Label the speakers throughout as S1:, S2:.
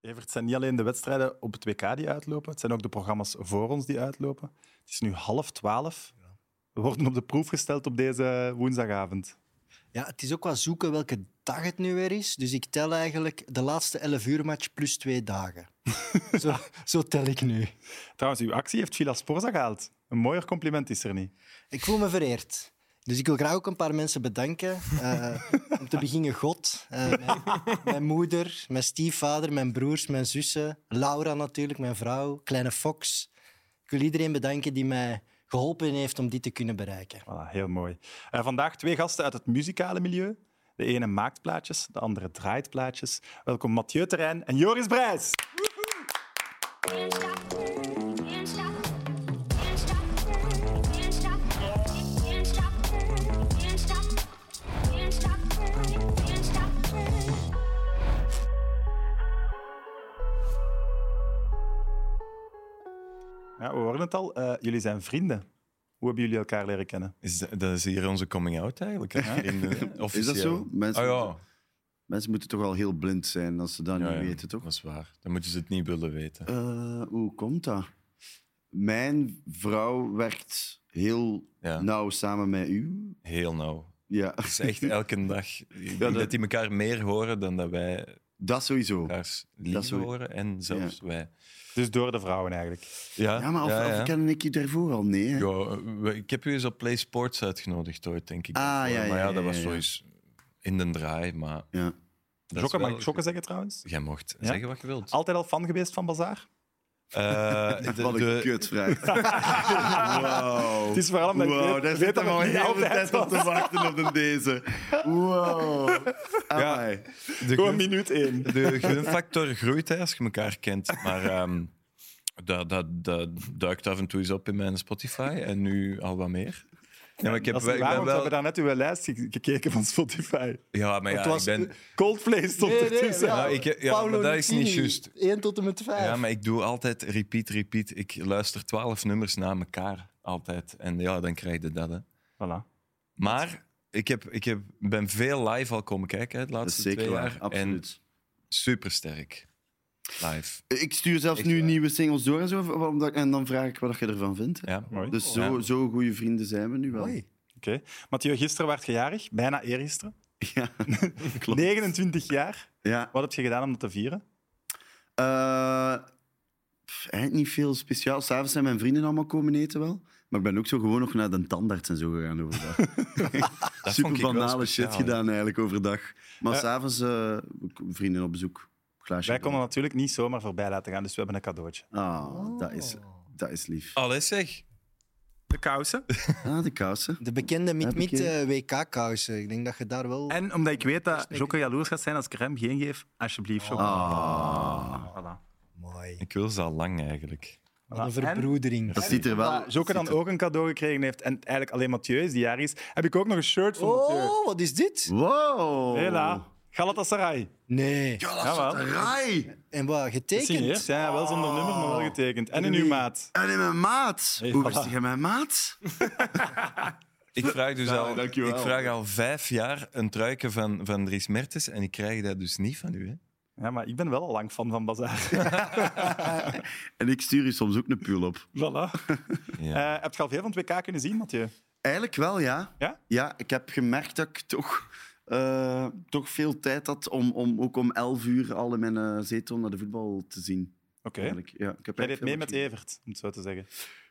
S1: Evert, het zijn niet alleen de wedstrijden op het WK die uitlopen, het zijn ook de programma's voor ons die uitlopen. Het is nu half twaalf. We worden op de proef gesteld op deze woensdagavond.
S2: Ja, het is ook wel zoeken welke dag het nu weer is. Dus ik tel eigenlijk de laatste 11 uur match plus twee dagen. zo, zo tel ik nu.
S1: Trouwens, uw actie heeft Villa Sporza gehaald. Een mooier compliment is er niet.
S2: Ik voel me vereerd. Dus ik wil graag ook een paar mensen bedanken. Eh, om te beginnen God, eh, mijn, mijn moeder, mijn stiefvader, mijn broers, mijn zussen, Laura natuurlijk, mijn vrouw, kleine Fox. Ik wil iedereen bedanken die mij geholpen heeft om dit te kunnen bereiken.
S1: Voilà, heel mooi. Eh, vandaag twee gasten uit het muzikale milieu. De ene maakt plaatjes, de andere draait plaatjes. Welkom Mathieu Terrein en Joris Brijs.
S3: Can't stop, can't stop, can't stop, can't stop, can't stop, can't stop, can't stop, can't stop.
S1: Ja, we horen het al, eh, jullie zijn vrienden. Hoe hebben jullie elkaar leren kennen?
S4: Is dat, dat is hier onze coming out eigenlijk. hè? In, eh,
S5: Is
S4: officieel.
S5: dat zo? Mensen,
S4: Ah ja,
S5: moeten, mensen moeten toch wel heel blind zijn als ze dat
S4: Ja,
S5: niet
S4: ja.
S5: weten, toch?
S4: dat is waar. Dan moeten ze het niet willen weten.
S5: Eh, hoe komt dat? Mijn vrouw werkt heel
S4: Ja.
S5: nauw samen met u.
S4: Heel nauw.
S5: Ja,
S4: Het is echt elke dag. Ik denk
S5: dat-
S4: dat... die elkaar meer horen dan dat wij
S5: dat sowieso.
S4: elkaars
S5: Dat
S4: lief
S5: is hoe-
S4: horen. En zelfs wij.
S1: Dus door de vrouwen eigenlijk.
S4: Ja,
S5: Ja, maar of,
S4: ja, ja.
S5: of ken ik je daarvoor al? Nee. hè?
S4: Ja, we- ik heb u eens op Play Sports uitgenodigd ooit, denk ik.
S5: Ah, ja, ja,
S4: maar ja,
S5: ja,
S4: dat was
S5: ja,
S4: zo
S5: ja.
S4: eens in de draai. Maar
S5: Ja.
S4: dat is
S1: Jokke,
S4: wel-
S1: mag ik Jokke zeggen trouwens?
S4: Jij mocht
S1: Ja?
S4: zeggen wat je wilt.
S1: Altijd al fan geweest van Bazaar?
S4: Eh, de-
S5: Wat een
S4: de-
S5: kutvraag. wow.
S1: Het is vooral omdat ik
S5: Wow,
S1: weet-
S5: daar
S1: weet
S5: zit
S1: dat
S5: hem al
S1: het niet
S5: heel de
S1: altijd
S5: tijd op te wachten op de deze. Wow. Amai.
S4: de
S1: Gewoon
S4: groep-
S1: minuut één.
S4: De gunfactor groeit hè, als je elkaar kent. Maar ehm, dat, dat, dat duikt af en toe eens op in mijn Spotify. En nu al wat meer. Ja, maar ik heb
S1: Dat is niet
S4: ik
S1: waar,
S4: ben
S1: want we
S4: wel...
S1: hebben daarnet uw lijst ge- gekeken van Spotify.
S4: Ja, maar ja,
S1: het was
S4: ik ben...
S1: Coldplay stond ertussen.
S4: ja. Nou, ik- ja, maar dat is niet juist.
S2: 1 tot en met 5.
S4: Ja, maar ik doe altijd repeat, repeat. Ik luister twaalf nummers na elkaar. Altijd. En ja, dan krijg je dat, hè.
S1: Voilà.
S4: Maar ik, heb, ik heb, ben veel live al komen kijken hè, het
S5: Dat
S4: laatste
S5: is zeker
S4: twee
S5: waar,
S4: jaar. En
S5: absoluut.
S4: supersterk. Live.
S5: Ik stuur zelfs
S4: Echt
S5: nu
S4: waar.
S5: nieuwe singles door en zo, wa- omdat, en dan vraag ik wat je ervan vindt.
S4: Ja.
S1: Mooi.
S5: Dus zo,
S4: Ja.
S5: zo goede vrienden zijn we nu wel.
S1: Oké. Mathieu, gisteren werd je jarig. Bijna eergisteren.
S5: Ja, klopt.
S1: 29 jaar.
S5: Ja.
S1: Wat heb je gedaan om dat te vieren?
S5: Eh, pff, eigenlijk niet veel speciaal. S'avonds zijn mijn vrienden allemaal komen eten wel. Maar ik ben ook zo gewoon nog naar de tandarts en zo gegaan overdag.
S4: Dat
S5: Super
S4: vond ik wel
S5: banale shit
S4: speciaal, hè.
S5: gedaan eigenlijk overdag. Maar
S1: Ja.
S5: s'avonds eh, vrienden op bezoek. Glaasje.
S1: Wij konden
S5: drinken.
S1: natuurlijk niet zomaar voorbij laten gaan, dus we hebben een cadeautje.
S5: Ah, dat, is, dat is lief.
S4: Alles zeg.
S1: De kousen.
S4: Oh.
S5: Ah, de kousen.
S2: De bekende eh,
S5: Heb ik
S2: mid-mid
S5: hier.
S2: WK-kousen. Ik denk dat je daar wel...
S1: En omdat ik weet dat Jocke jaloers gaat zijn als ik er hem geen geef, alsjeblieft, Jocke.
S4: Ah.
S1: Voilà.
S2: Mooi.
S4: Ik wil ze al lang eigenlijk.
S2: Wat een
S1: En-
S2: verbroedering.
S5: Dat ziet er wel...
S1: Voilà, Jocke dan ook een cadeau gekregen heeft en eigenlijk alleen Mathieu is die jarig is, heb ik ook nog een shirt voor Mathieu.
S2: Oh, wat is dit?
S5: Wow!
S4: Oh.
S1: Hela. Galatasaray.
S2: Nee.
S1: Jawel.
S5: Rai!
S2: En wat,
S1: Gesigneerd.
S2: getekend?
S1: Ja, wel zonder nummer, maar wel getekend. En in uw maat.
S5: En in mijn maat.
S1: Hey,
S5: Hoe
S1: voilà.
S5: wist jij mijn maat?
S4: Ik vraag dus al,
S5: dankjewel.
S4: ik vraag al vijf jaar een truiken van, van Dries Mertens en ik krijg dat dus niet van u. Hè?
S1: Ja, maar ik ben wel al lang fan van Bazaar.
S5: En ik stuur je soms ook een pul op.
S1: voilà.
S4: Ja.
S1: Eh heb je al veel van het WK kunnen zien, Mathieu?
S5: Eigenlijk wel, ja.
S1: Ja?
S5: ik heb gemerkt dat ik toch, eh, toch veel tijd had om, om ook om 11 uur al in mijn eh, zetel naar de voetbal te zien.
S1: Oké.
S5: Eigenlijk. Ja, ik heb
S1: Jij
S5: eigenlijk
S1: deed
S5: veel
S1: mee
S5: wat
S1: met
S5: gezien.
S1: Evert, om het zo te zeggen.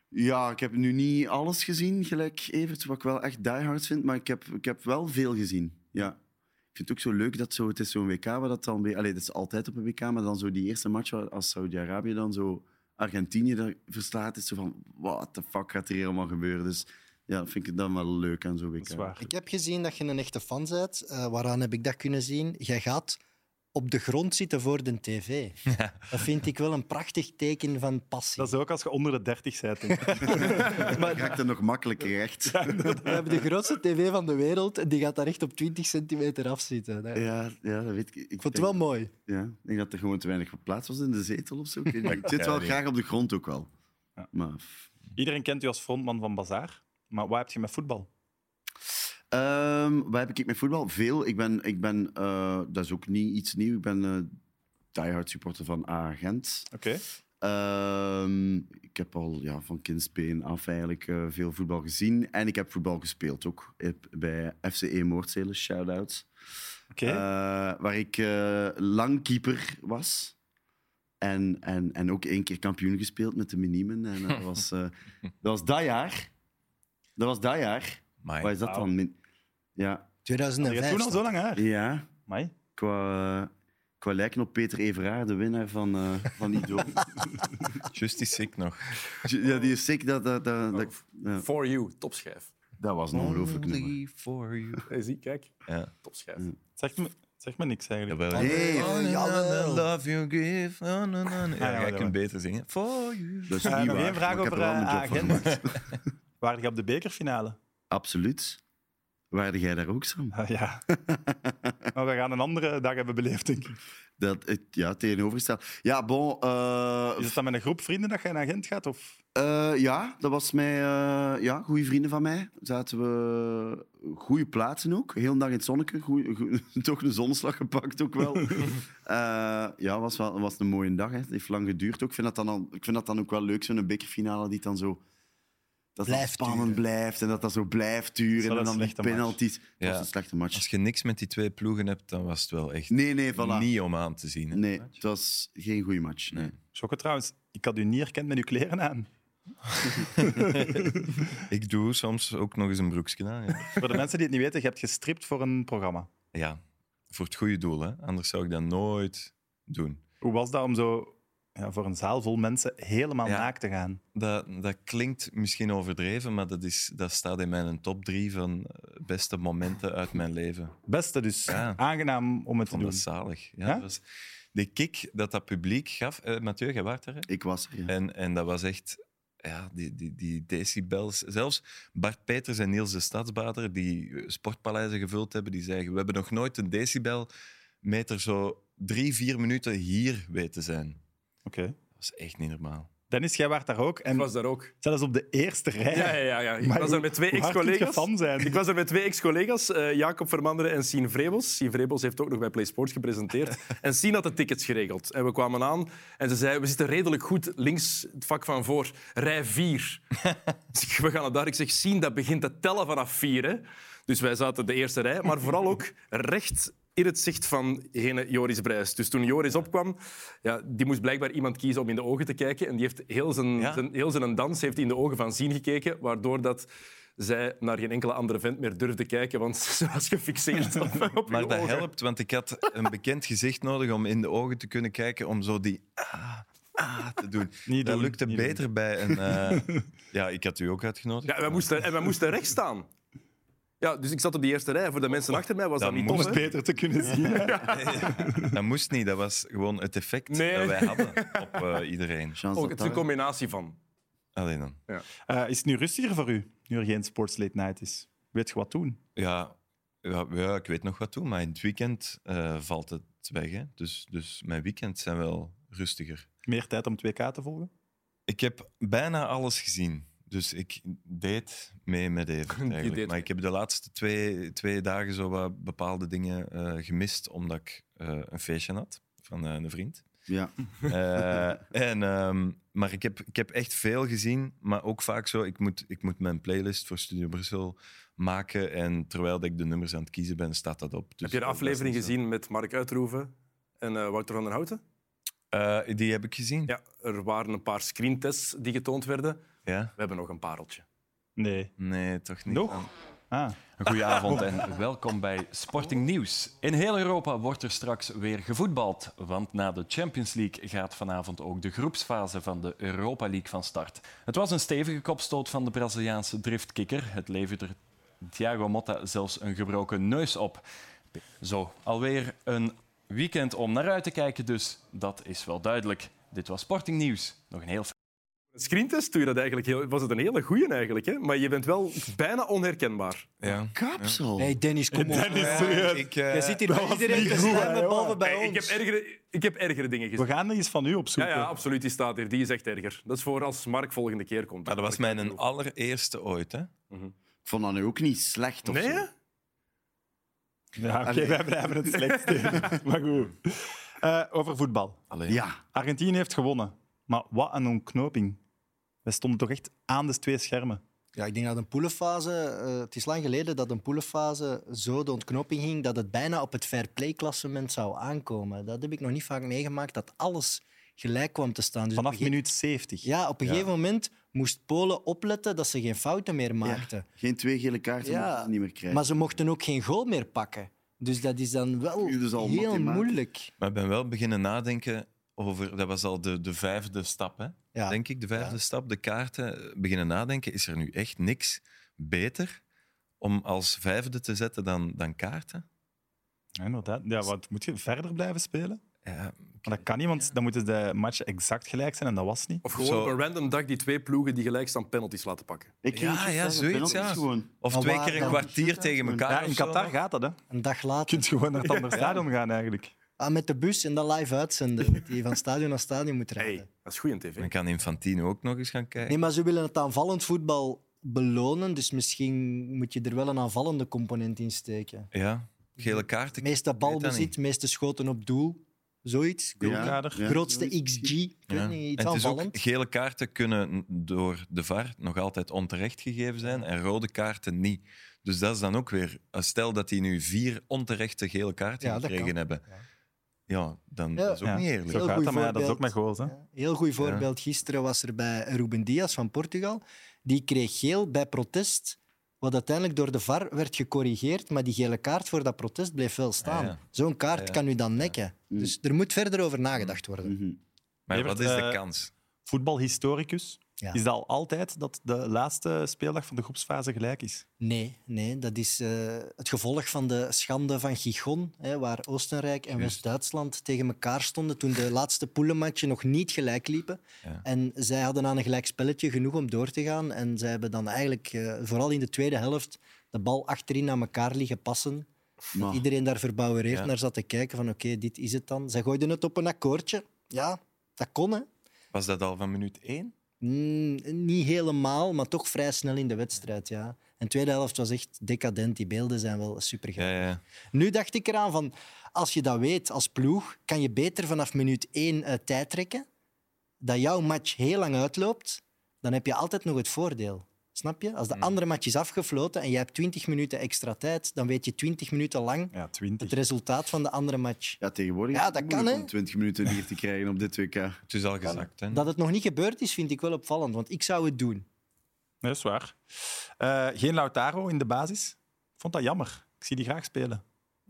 S5: Ja, ik heb nu niet alles gezien, gelijk Evert, wat ik wel echt diehard vind, maar ik heb, ik heb wel veel gezien. Ja. Ik vind het ook zo leuk dat zo, het is zo'n WK waar dat dan weer... Allee, dat is altijd op een WK, maar dan zo die eerste match waar- als Saudi-Arabië dan zo Argentinië daar verslaat, is zo van, what the fuck gaat er hier allemaal gebeuren? Dus ja, vind ik het dan wel leuk aan zo'n WK.
S1: Dat is waar.
S2: Ik heb gezien dat je een echte fan bent. Eh, waaraan heb ik dat kunnen zien? Jij gaat op de grond zitten voor de tv. Dat vind ik wel een prachtig teken van passie.
S1: Dat is ook als je onder de 30 bent. denk ik.
S5: Maar raakt het nog makkelijk recht. Ja,
S2: We hebben de grootste tv van de wereld en die gaat daar echt op 20 centimeter afzitten. Dat-
S5: ja, dat weet ik.
S2: Ik vond het wel mooi.
S5: Ja, ik denk dat er gewoon te weinig plaats was in de zetel of zo. Ik, weet niet. Ik zit
S4: Ja,
S5: wel
S4: nee.
S5: graag op de grond ook wel.
S1: Ja.
S5: Maar
S1: Iedereen kent u als frontman van Bazaar. Maar wat heb je met voetbal?
S5: Ehm, waar heb ik met voetbal? Veel. Ik ben, ik ben eh, dat is ook niet iets nieuws. Ik ben eh, diehard supporter van A Gent.
S1: Oké.
S5: Ehm, ik heb al ja, van kindsbeen af eigenlijk eh, veel voetbal gezien. En ik heb voetbal gespeeld ook eh, bij FCE Moordzelen, shout-out.
S1: Oké.
S5: Eh, waar ik eh, lang keeper was. En, en, en ook één keer kampioen gespeeld met de Miniemen. En dat, was, eh, dat was dat jaar. Dat was dat jaar.
S4: Amai.
S5: Wat is dat
S1: Wauw.
S5: dan? Min- Ja,
S1: Je
S2: 2005.
S1: hebt toen al zo lang haar.
S5: ja
S1: Amai.
S5: qua, qua lijken op Peter Everaar, de winnaar van, eh van Idol.
S4: Just die sick nog.
S5: ja, die is sick. Dat, dat, dat, dat, ja.
S6: For You, topschijf.
S5: Oh. Dat was een ongelooflijk
S4: Oh,
S5: nummer.
S4: for you.
S6: Hey, zie, kijk, Mm.
S4: Ja.
S6: topschijf.
S1: Zegt me, zegt me niks eigenlijk.
S4: Jawel.
S5: Nee.
S4: Oh, na, na,
S2: Jawel.
S4: na, Love you give. Oh, na,
S5: Ah,
S4: na, na. Ja,
S1: jawel,
S4: jij
S1: jawel.
S4: kunt beter zingen. For you.
S5: Dat is
S1: Eh,
S5: niet
S1: nog
S5: waar,
S1: één vraag
S5: maar ik
S1: over
S5: heb er wel
S1: eh,
S5: mijn job van
S1: agent.
S5: gemaakt.
S1: Waren je op de bekerfinale?
S5: Absoluut. Waarde jij daar ook, Sam?
S1: Ah, ja. maar we gaan een andere dag hebben beleefd, denk ik.
S5: Dat, het, ja, tegenovergesteld. Ja, bon. eh,
S1: Is het dan met een groep vrienden dat je naar Gent gaat? Of...
S5: Eh, ja, dat was mijn eh, ja, goede vrienden van mij. Zaten we goede plaatsen ook. Heel de dag in het zonneke. Goeie- goe- toch een zonneslag gepakt ook wel. Eh, ja, was wel was een mooie dag. Hè. Het heeft lang geduurd ook. Ik vind dat dan, al- ik vind dat dan ook wel leuk, zo'n bekerfinale die dan zo... Dat het
S2: Blijft
S5: spannend
S2: duren.
S5: blijft en dat dat zo blijft duren.
S1: wel
S5: En
S1: een
S5: dan die
S1: slechte match.
S5: penalties. Dat
S4: Ja.
S5: was een slechte match.
S4: Als je niks met die twee ploegen hebt, dan was het wel echt
S5: Nee, nee, voilà.
S4: niet om aan te zien. hè.
S5: Nee, het was geen goede match. Nee.
S4: Nee.
S1: Schokke trouwens, ik had u niet herkend met uw kleren aan.
S4: Ik doe soms ook nog eens een broekje aan. Ja.
S1: Voor de mensen die het niet weten, je hebt gestript voor een programma.
S4: ja, voor het goede doel. Hè. Anders zou ik dat nooit doen.
S1: Hoe was dat om zo ja, voor een zaal vol mensen helemaal
S4: Ja.
S1: naakt te gaan?
S4: Dat, dat klinkt misschien overdreven, maar dat, is, dat staat in mijn top drie van eh, beste momenten uit mijn leven.
S1: Beste dus.
S4: Ja.
S1: Aangenaam om het
S4: Ik
S1: te
S4: vond
S1: doen.
S4: dat zalig. Ja,
S1: Ja?
S4: dat was- de kick dat dat publiek gaf... eh, Mathieu, jij waart er, hè?
S5: Ik was er, ja.
S4: En, en dat was echt... Ja, die, die, die decibels. Zelfs Bart Peters en Niels de Stadsbader, die eh, sportpaleizen gevuld hebben, die zeggen, we hebben nog nooit een decibelmeter zo drie, vier minuten hier weten zijn.
S1: Oké.
S4: Dat was echt niet normaal.
S1: Dennis, jij waart daar ook. En
S6: Ik was daar ook.
S1: zelfs op de eerste rij.
S6: Ja, ja, ja. ja. Ik
S1: Maar
S6: was
S1: hoe-
S6: daar met twee
S1: hoe hard kun je
S6: ex-collega's.
S1: fan zijn?
S6: Ik was er met twee ex-collega's, eh, Jacob Vermanderen en Sien Vrebels. Sien Vrebels heeft ook nog bij PlaySports gepresenteerd. en Sien had de tickets geregeld. En we kwamen aan en ze zei, we zitten redelijk goed links het vak van voor, rij 4. we gaan het daar. Ik zeg, Sien, dat begint te tellen vanaf 4. Hè? Dus wij zaten de eerste rij, maar vooral ook recht in het zicht van ene Joris Brijs. Dus toen Joris opkwam, ja, die moest blijkbaar iemand kiezen om in de ogen te kijken. En die heeft heel zijn,
S4: Ja.
S6: zijn, heel zijn dans heeft hij in de ogen van Sien gekeken, waardoor dat zij naar geen enkele andere vent meer durfde kijken, want ze was gefixeerd op, op uw
S4: Maar dat
S6: ogen.
S4: helpt, want ik had een bekend gezicht nodig om in de ogen te kunnen kijken, om zo die ah, ah te doen.
S1: Niet
S4: dat
S1: doen,
S4: lukte
S1: niet
S4: beter bij een... eh, ja, ik had u ook uitgenodigd.
S6: Ja, en wij moesten, en wij moesten rechts staan. Ja, dus ik zat op die eerste rij.
S4: Oh,
S6: Voor de mensen achter mij was dat,
S4: Dat
S6: niet
S1: Om
S6: tof.
S1: het
S6: hè?
S1: beter te kunnen zien.
S4: Dat moest niet, dat was gewoon het effect
S6: Nee.
S4: dat wij hadden op eh, iedereen.
S5: Chance
S6: Ook,
S5: dat
S6: het is een
S5: daar-
S6: combinatie van.
S4: Alleen dan.
S1: Eh, is het nu rustiger voor u, nu er geen sports late night is? Weet je wat doen?
S4: Ja, ja, ja, ik weet nog wat toe, maar in het weekend eh, valt het weg. Hè. Dus, dus mijn weekends zijn wel rustiger.
S1: Meer tijd om 2K te volgen?
S4: Ik heb bijna alles gezien. Dus ik deed mee met Evert eigenlijk.
S6: deed
S4: maar
S6: mee.
S4: ik heb de laatste twee, twee dagen zo wat bepaalde dingen eh, gemist, omdat ik eh, een feestje had van eh, een vriend.
S5: Ja.
S4: Eh, en, ehm, maar ik heb, ik heb echt veel gezien, maar ook vaak zo. Ik moet, ik moet mijn playlist voor Studio Brussel maken. En terwijl dat ik de nummers aan het kiezen ben, staat dat op. Dus
S6: Heb je de
S4: dat is
S6: aflevering
S4: niet zo.
S6: gezien met Mark Uitroeven en eh, Wouter van der Houten?
S4: Eh, die heb ik gezien. Ja.
S6: Ja, er waren een paar screentests die getoond werden. We hebben nog een pareltje.
S1: Nee.
S4: Nee, toch niet.
S1: Nog? Ah.
S7: Goedenavond en welkom bij Sporting Nieuws. In heel Europa wordt er straks weer gevoetbald. Want na de Champions League gaat vanavond ook de groepsfase van de Europa League van start. Het was een stevige kopstoot van de Braziliaanse driftkikker. Het leverde Thiago Motta zelfs een gebroken neus op. Zo, alweer een weekend om naar uit te kijken, dus dat is wel duidelijk. Dit was Sporting Nieuws. Nog een heel
S6: Een screentest doe je dat eigenlijk heel, was het een hele goeie eigenlijk, hè? maar je bent wel bijna onherkenbaar.
S4: Ja.
S5: Kapsel.
S2: Nee, Dennis, kom op.
S4: Ik, eh,
S2: Je zit hier bij iedereen te stemmen, behalve bij
S6: Hey,
S2: ons.
S6: ik, heb ergere, ik heb ergere dingen
S1: We
S6: gezien.
S1: gaan er iets van u
S6: Ja,
S1: opzoeken.
S6: ja, absoluut, die staat hier. Die is echt erger. Dat is voor als Mark volgende keer komt.
S4: maar dat was
S6: Mark
S4: mijn
S6: Uitroeven.
S4: allereerste ooit. Hè?
S5: Ik vond dat nu ook niet slecht. Of
S6: Nee?
S5: zo.
S6: hè?
S1: Ja, oké,
S5: Allee.
S1: wij blijven het slechtste. maar goed. Eh, over voetbal.
S4: Allee.
S5: Ja,
S1: Argentinië heeft gewonnen. Maar wat een ontknoping. We stonden toch echt aan de twee schermen.
S2: Ja, ik denk dat een poelenfase... eh, het is lang geleden dat een poelenfase zo de ontknoping ging dat het bijna op het fair play klassement zou aankomen. Dat heb ik nog niet vaak meegemaakt, dat alles gelijk kwam te staan. Dus op
S1: Vanaf
S2: een ge-
S1: minuut 70.
S2: Ja, op een gegeven moment moest Polen opletten dat ze geen fouten meer maakten.
S5: geen twee gele kaarten
S2: Ja,
S5: mochten ze niet meer krijgen.
S2: Maar ze mochten ook geen goal meer pakken. Dus dat is dan wel
S5: Hier dus al
S2: heel
S5: makkelijk.
S2: moeilijk.
S4: Maar ik ben wel beginnen nadenken over... Dat was al de, de vijfde stap, hè?
S2: Ja.
S4: denk ik. De vijfde stap, de kaarten. eh, Beginnen nadenken, is er nu echt niks beter om als vijfde te zetten dan, dan kaarten?
S1: Ja, inderdaad. Ja, wat, moet je verder blijven spelen?
S4: Ja,
S1: Maar dat kan niet, want dan moeten de matchen exact gelijk zijn en dat was niet.
S6: Of gewoon
S4: Zo.
S6: op een random dag die twee ploegen die gelijk staan penalties laten pakken.
S5: Ik ging
S4: Ja,
S5: het juist
S4: ja,
S5: zeggen,
S4: zoiets,
S5: penalties
S4: ja.
S5: Gewoon.
S4: Of
S2: Maar
S4: twee
S2: waar
S4: keer een
S2: dan?
S4: kwartier tegen elkaar.
S1: Ja, in
S4: of zo,
S1: Qatar
S4: hè?
S1: gaat dat, hè. Je
S2: Een dag later.
S1: kunt gewoon naar het andere stadion gaan, eigenlijk.
S2: Ah, met de bus en dat live uitzenden. dat Die van stadion naar stadion moet rijden.
S6: Hey, dat is goed in tv.
S4: Dan kan Infantino ook nog eens gaan kijken.
S2: Nee, maar ze willen het aanvallend voetbal belonen. Dus misschien moet je er wel een aanvallende component in steken.
S4: Ja, gele kaarten.
S2: Meeste
S4: niet.
S2: balbezit, meeste schoten op doel. Zoiets.
S1: Doelkader.
S5: Ja,
S2: Grootste
S5: zoiets.
S2: XG. Ik weet
S4: Ja.
S2: niet, iets
S4: En het is ook,
S2: aanvallend.
S4: gele kaarten kunnen door de VAR nog altijd onterecht gegeven zijn en rode kaarten niet. Dus dat is dan ook weer... eh, Stel dat die nu vier onterechte gele kaarten
S2: Ja, dat
S4: gekregen
S2: kan.
S4: hebben. Ja, dan
S2: Ja.
S4: dat is ook
S1: Ja.
S4: niet
S1: Zo
S4: eerlijk.
S2: Heel
S1: gaat
S2: goed
S1: dat, maar ja, dat is
S2: voorbeeld.
S1: ook met goals, hè.
S2: Ja, Heel goed voorbeeld. Gisteren was er bij Ruben Diaz van Portugal. Die kreeg geel bij protest, wat uiteindelijk door de VAR werd gecorrigeerd. Maar die gele kaart voor dat protest bleef wel staan.
S4: Ja, ja.
S2: Zo'n kaart
S4: Ja, ja.
S2: kan u dan nekken.
S5: Mm.
S2: Dus er moet verder over nagedacht worden.
S5: Mhm.
S4: Maar
S1: Evert,
S4: wat is de
S1: eh,
S4: kans?
S1: Voetbalhistoricus.
S2: Ja.
S1: Is dat al altijd dat de laatste speeldag van de groepsfase gelijk is?
S2: Nee, nee, dat is eh, het gevolg van de schande van Gigon, hè, waar Oostenrijk en West-Duitsland tegen elkaar stonden toen de laatste poelenmatje nog niet gelijk liepen.
S4: Ja.
S2: En zij hadden aan een gelijk spelletje genoeg om door te gaan. En zij hebben dan eigenlijk, eh, vooral in de tweede helft, de bal achterin aan elkaar liggen passen.
S5: Maar-
S2: Iedereen daar verbouwereerd
S4: Ja.
S2: naar zat te kijken van oké, dit is het dan. Zij gooiden het op een akkoordje. Ja, dat kon hè.
S4: Was dat al van minuut één?
S2: Mm, niet helemaal, maar toch vrij snel in de wedstrijd, ja. En de tweede helft was echt decadent. Die beelden zijn wel super
S4: Ja, ja.
S2: Nu dacht ik eraan van, als je dat weet als ploeg, kan je beter vanaf minuut één eh, tijd trekken. Dat jouw match heel lang uitloopt, dan heb je altijd nog het voordeel. Snap je? Als de andere match is afgefloten en je hebt 20 minuten extra tijd, dan weet je 20 minuten lang
S1: Ja,
S2: het
S1: 20.
S2: resultaat van de andere match.
S5: Ja, tegenwoordig
S2: Ja,
S5: is het
S2: dat kan,
S5: moeilijk
S2: hè.
S5: om 20 minuten hier te krijgen op dit WK.
S4: Het is al gezakt. Hè?
S2: Dat het nog niet gebeurd is, vind ik wel opvallend, want ik zou het doen.
S1: Nee, dat is waar. Eh, geen Lautaro in de basis. Ik vond dat jammer. Ik zie die graag spelen.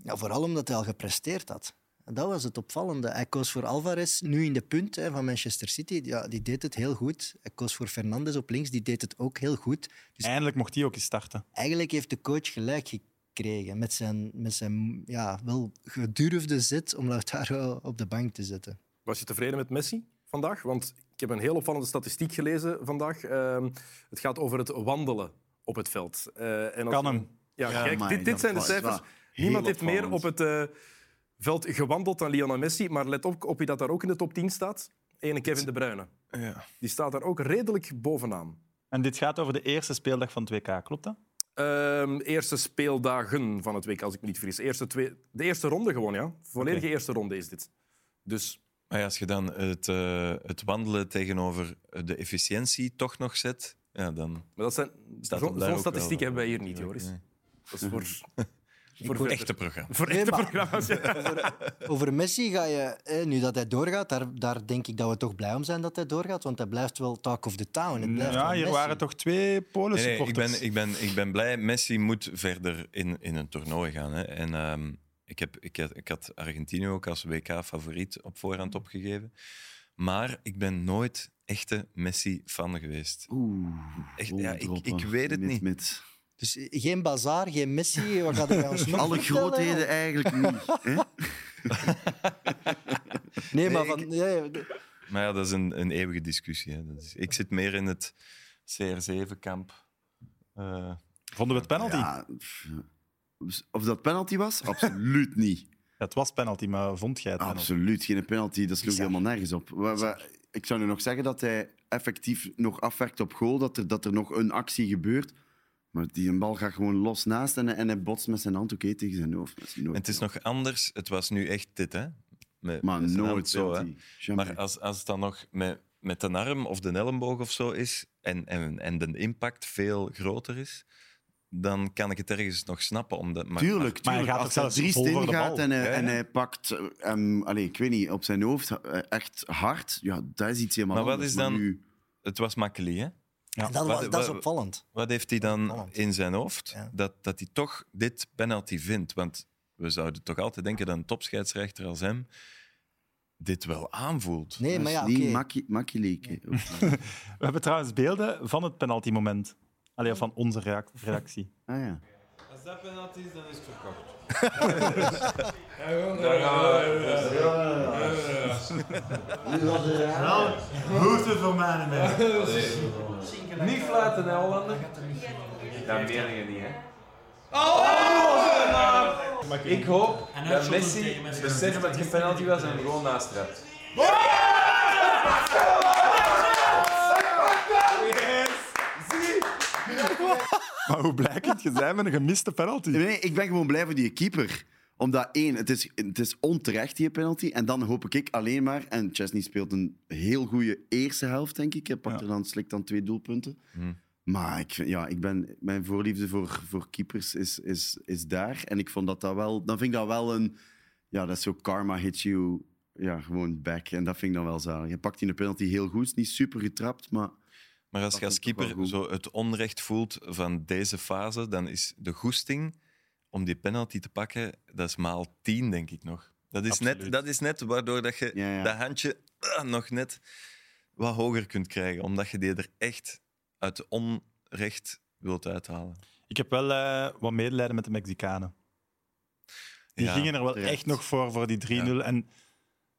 S2: Ja, vooral omdat hij al gepresteerd had. En Dat was het opvallende. Hij koos voor Alvarez, nu in de punt hè, van Manchester City. Ja, die deed het heel goed. Hij koos voor Fernandes op links, die deed het ook heel goed. Dus
S1: Eindelijk mocht die ook eens starten.
S2: eigenlijk heeft de coach gelijk gekregen met zijn, met zijn ja, wel gedurfde zet om Lautaro op de bank te zetten.
S6: Was je tevreden met Messi vandaag? Want ik heb een heel opvallende statistiek gelezen vandaag. Ehm, het gaat over het wandelen op het veld. Eh, en als-
S1: Kan hem.
S6: Ja,
S5: Ja,
S6: kijk,
S5: maar
S6: dit, dit
S5: dat
S6: zijn de
S5: was- dat
S6: cijfers.
S5: was heel
S6: Niemand heeft meer op
S5: opvallend.
S6: het eh, veld gewandeld dan Lionel Messi. Maar let op, op wie dat daar ook in de top 10 staat. Ene Kevin De Bruyne.
S4: Ja.
S6: Die staat daar ook redelijk bovenaan.
S1: En dit gaat over de eerste speeldag van 2K, klopt dat?
S6: Ehm, eerste speeldagen van het week, als ik me niet vergis. Eerste twee, de eerste ronde gewoon, ja. Volledige eerste ronde is dit. Dus
S4: Maar ja, als je dan het, eh, het wandelen tegenover de efficiëntie toch nog zet, ja, dan
S6: maar dat zijn,
S4: staat
S6: zo-
S4: hem daar
S6: zo'n
S4: ook wel-
S6: statistiek hebben wij hier niet, Joris.
S4: Nee.
S6: Dat is voor, voor,
S4: Voor
S6: verder.
S4: echte programma.
S6: voor echte
S2: Nee, maar-
S6: programma's. ja.
S2: Over Messi ga je, eh, nu dat hij doorgaat, daar, daar denk ik dat we toch blij om zijn dat hij doorgaat, want hij blijft wel talk of the town. Het blijft
S1: Ja,
S2: wel
S1: hier
S2: Messi.
S1: waren toch twee Polen
S4: Nee, nee, ik,
S1: supporters.
S4: ben, ik, ben, ik ben blij. Messi moet verder in, in een toernooi gaan. Hè. En ehm, ik, heb, ik, had- ik had Argentinië ook als WK-favoriet op voorhand opgegeven. Maar ik ben nooit echte Messi-fan geweest.
S5: Oeh.
S4: Echt, ja, ik-
S5: droppen.
S4: ik weet het
S5: Mit,
S4: niet.
S5: mit.
S2: Dus geen bazaar, geen Messi, wat gaat hij ons nog
S5: Alle
S2: vertellen?
S5: grootheden eigenlijk niet. Hè?
S2: Nee, maar
S4: Nee,
S2: van, nee, de-
S4: Maar ja, dat is een, een eeuwige discussie. Hè. Dat is, ik zit meer in het CR7-kamp. Eh,
S1: Vonden we het penalty?
S5: Ja, pff. of dat penalty was? Absoluut niet.
S1: Het was penalty, maar vond jij het penalty?
S5: Absoluut geen penalty. Dat sloeg
S2: Bizar.
S5: helemaal nergens op. Wa- wa- ik zou nu nog zeggen dat hij effectief nog afwerkt op goal, dat er, dat er nog een actie gebeurt. Maar die bal gaat gewoon los naast en, en hij botst met zijn hand oké tegen zijn hoofd. Dat is nooit
S4: het is nog anders. Het was nu echt dit, hè? met-
S5: Maar
S4: met zijn hand
S5: nooit
S4: zo. hè.
S5: penalty. Champions.
S4: Maar als, als het dan nog met, met de arm of de elleboog of zo is en, en, en de impact veel groter is, dan kan ik het ergens nog snappen. Omdat, maar,
S5: Tuurlijk,
S1: Maar hij
S5: tuurlijk.
S1: gaat
S5: Als
S1: ook
S5: hij
S1: zelfs
S5: driest
S1: vol voor de
S5: ingaat
S1: bal.
S5: en, hij-
S4: Ja, ja.
S5: en hij pakt, eh, hem, allee, ik weet niet, op zijn hoofd eh, echt hard, ja, dat is iets helemaal
S4: Maar wat
S5: anders.
S4: is dan-
S5: nu-
S4: Het was Makkeli, hè?
S2: En dat,
S4: Wat-
S2: was, dat is
S4: wat-
S2: opvallend.
S4: Wat heeft hij dan
S2: Opvallend.
S4: in zijn hoofd
S2: Ja.
S4: dat, dat hij toch dit penalty vindt? Want we zouden toch altijd denken dat een topscheidsrechter als hem dit wel aanvoelt.
S2: Nee, maar ja,
S5: dat is
S2: oké.
S5: niet makkie- makkie leken.
S1: We hebben trouwens beelden van het penaltymoment. Allee, van onze reac- redactie.
S5: Ah ja.
S8: Als dat penalty is, dan is het verkocht.
S9: Hoeten voor mij man.
S8: Niet fluiten, hè, Hollander.
S10: Dat meen je niet, hè?
S8: Ik hoop
S9: En hij
S8: dat
S9: shot hem
S8: Messi
S9: tegen Messi.
S8: beseft dat het geen penalty was en hem gewoon naast trapt.
S1: Maar hoe blijkend je zijn met een gemiste penalty.
S5: Nee, nee, ik ben gewoon blij voor die keeper. Omdat één, het is, het is onterecht die penalty. En dan hoop ik ik alleen maar. En Chesney speelt een heel goede eerste helft, denk ik. Hij pakt
S1: Ja.
S5: er dan, slikt dan twee doelpunten.
S4: Hmm.
S5: Maar ik, vind- ja, ik ben, mijn voorliefde voor, voor keepers is, is, is daar. En ik vond dat dat wel. Dan vind ik dat wel een. Ja, dat is zo karma hit you. Ja, gewoon back. En dat vind ik dan wel zalig. Je pakt die penalty heel goed. Is niet super getrapt, maar.
S4: Maar als
S5: Dat
S4: je als
S5: vind ik ook wel
S4: keeper
S5: goed.
S4: zo het onrecht voelt van deze fase, dan is de goesting om die penalty te pakken, dat is maal tien, denk ik nog. Dat is, net,
S1: Absoluut.
S4: dat is net waardoor dat je
S5: Ja, ja.
S4: dat handje ah, nog net wat hoger kunt krijgen, omdat je die er echt uit onrecht wilt uithalen.
S1: Ik heb wel eh, wat medelijden met de Mexicanen. Die
S4: Ja,
S1: gingen er wel
S5: terecht.
S1: echt nog voor, voor die 3-0. En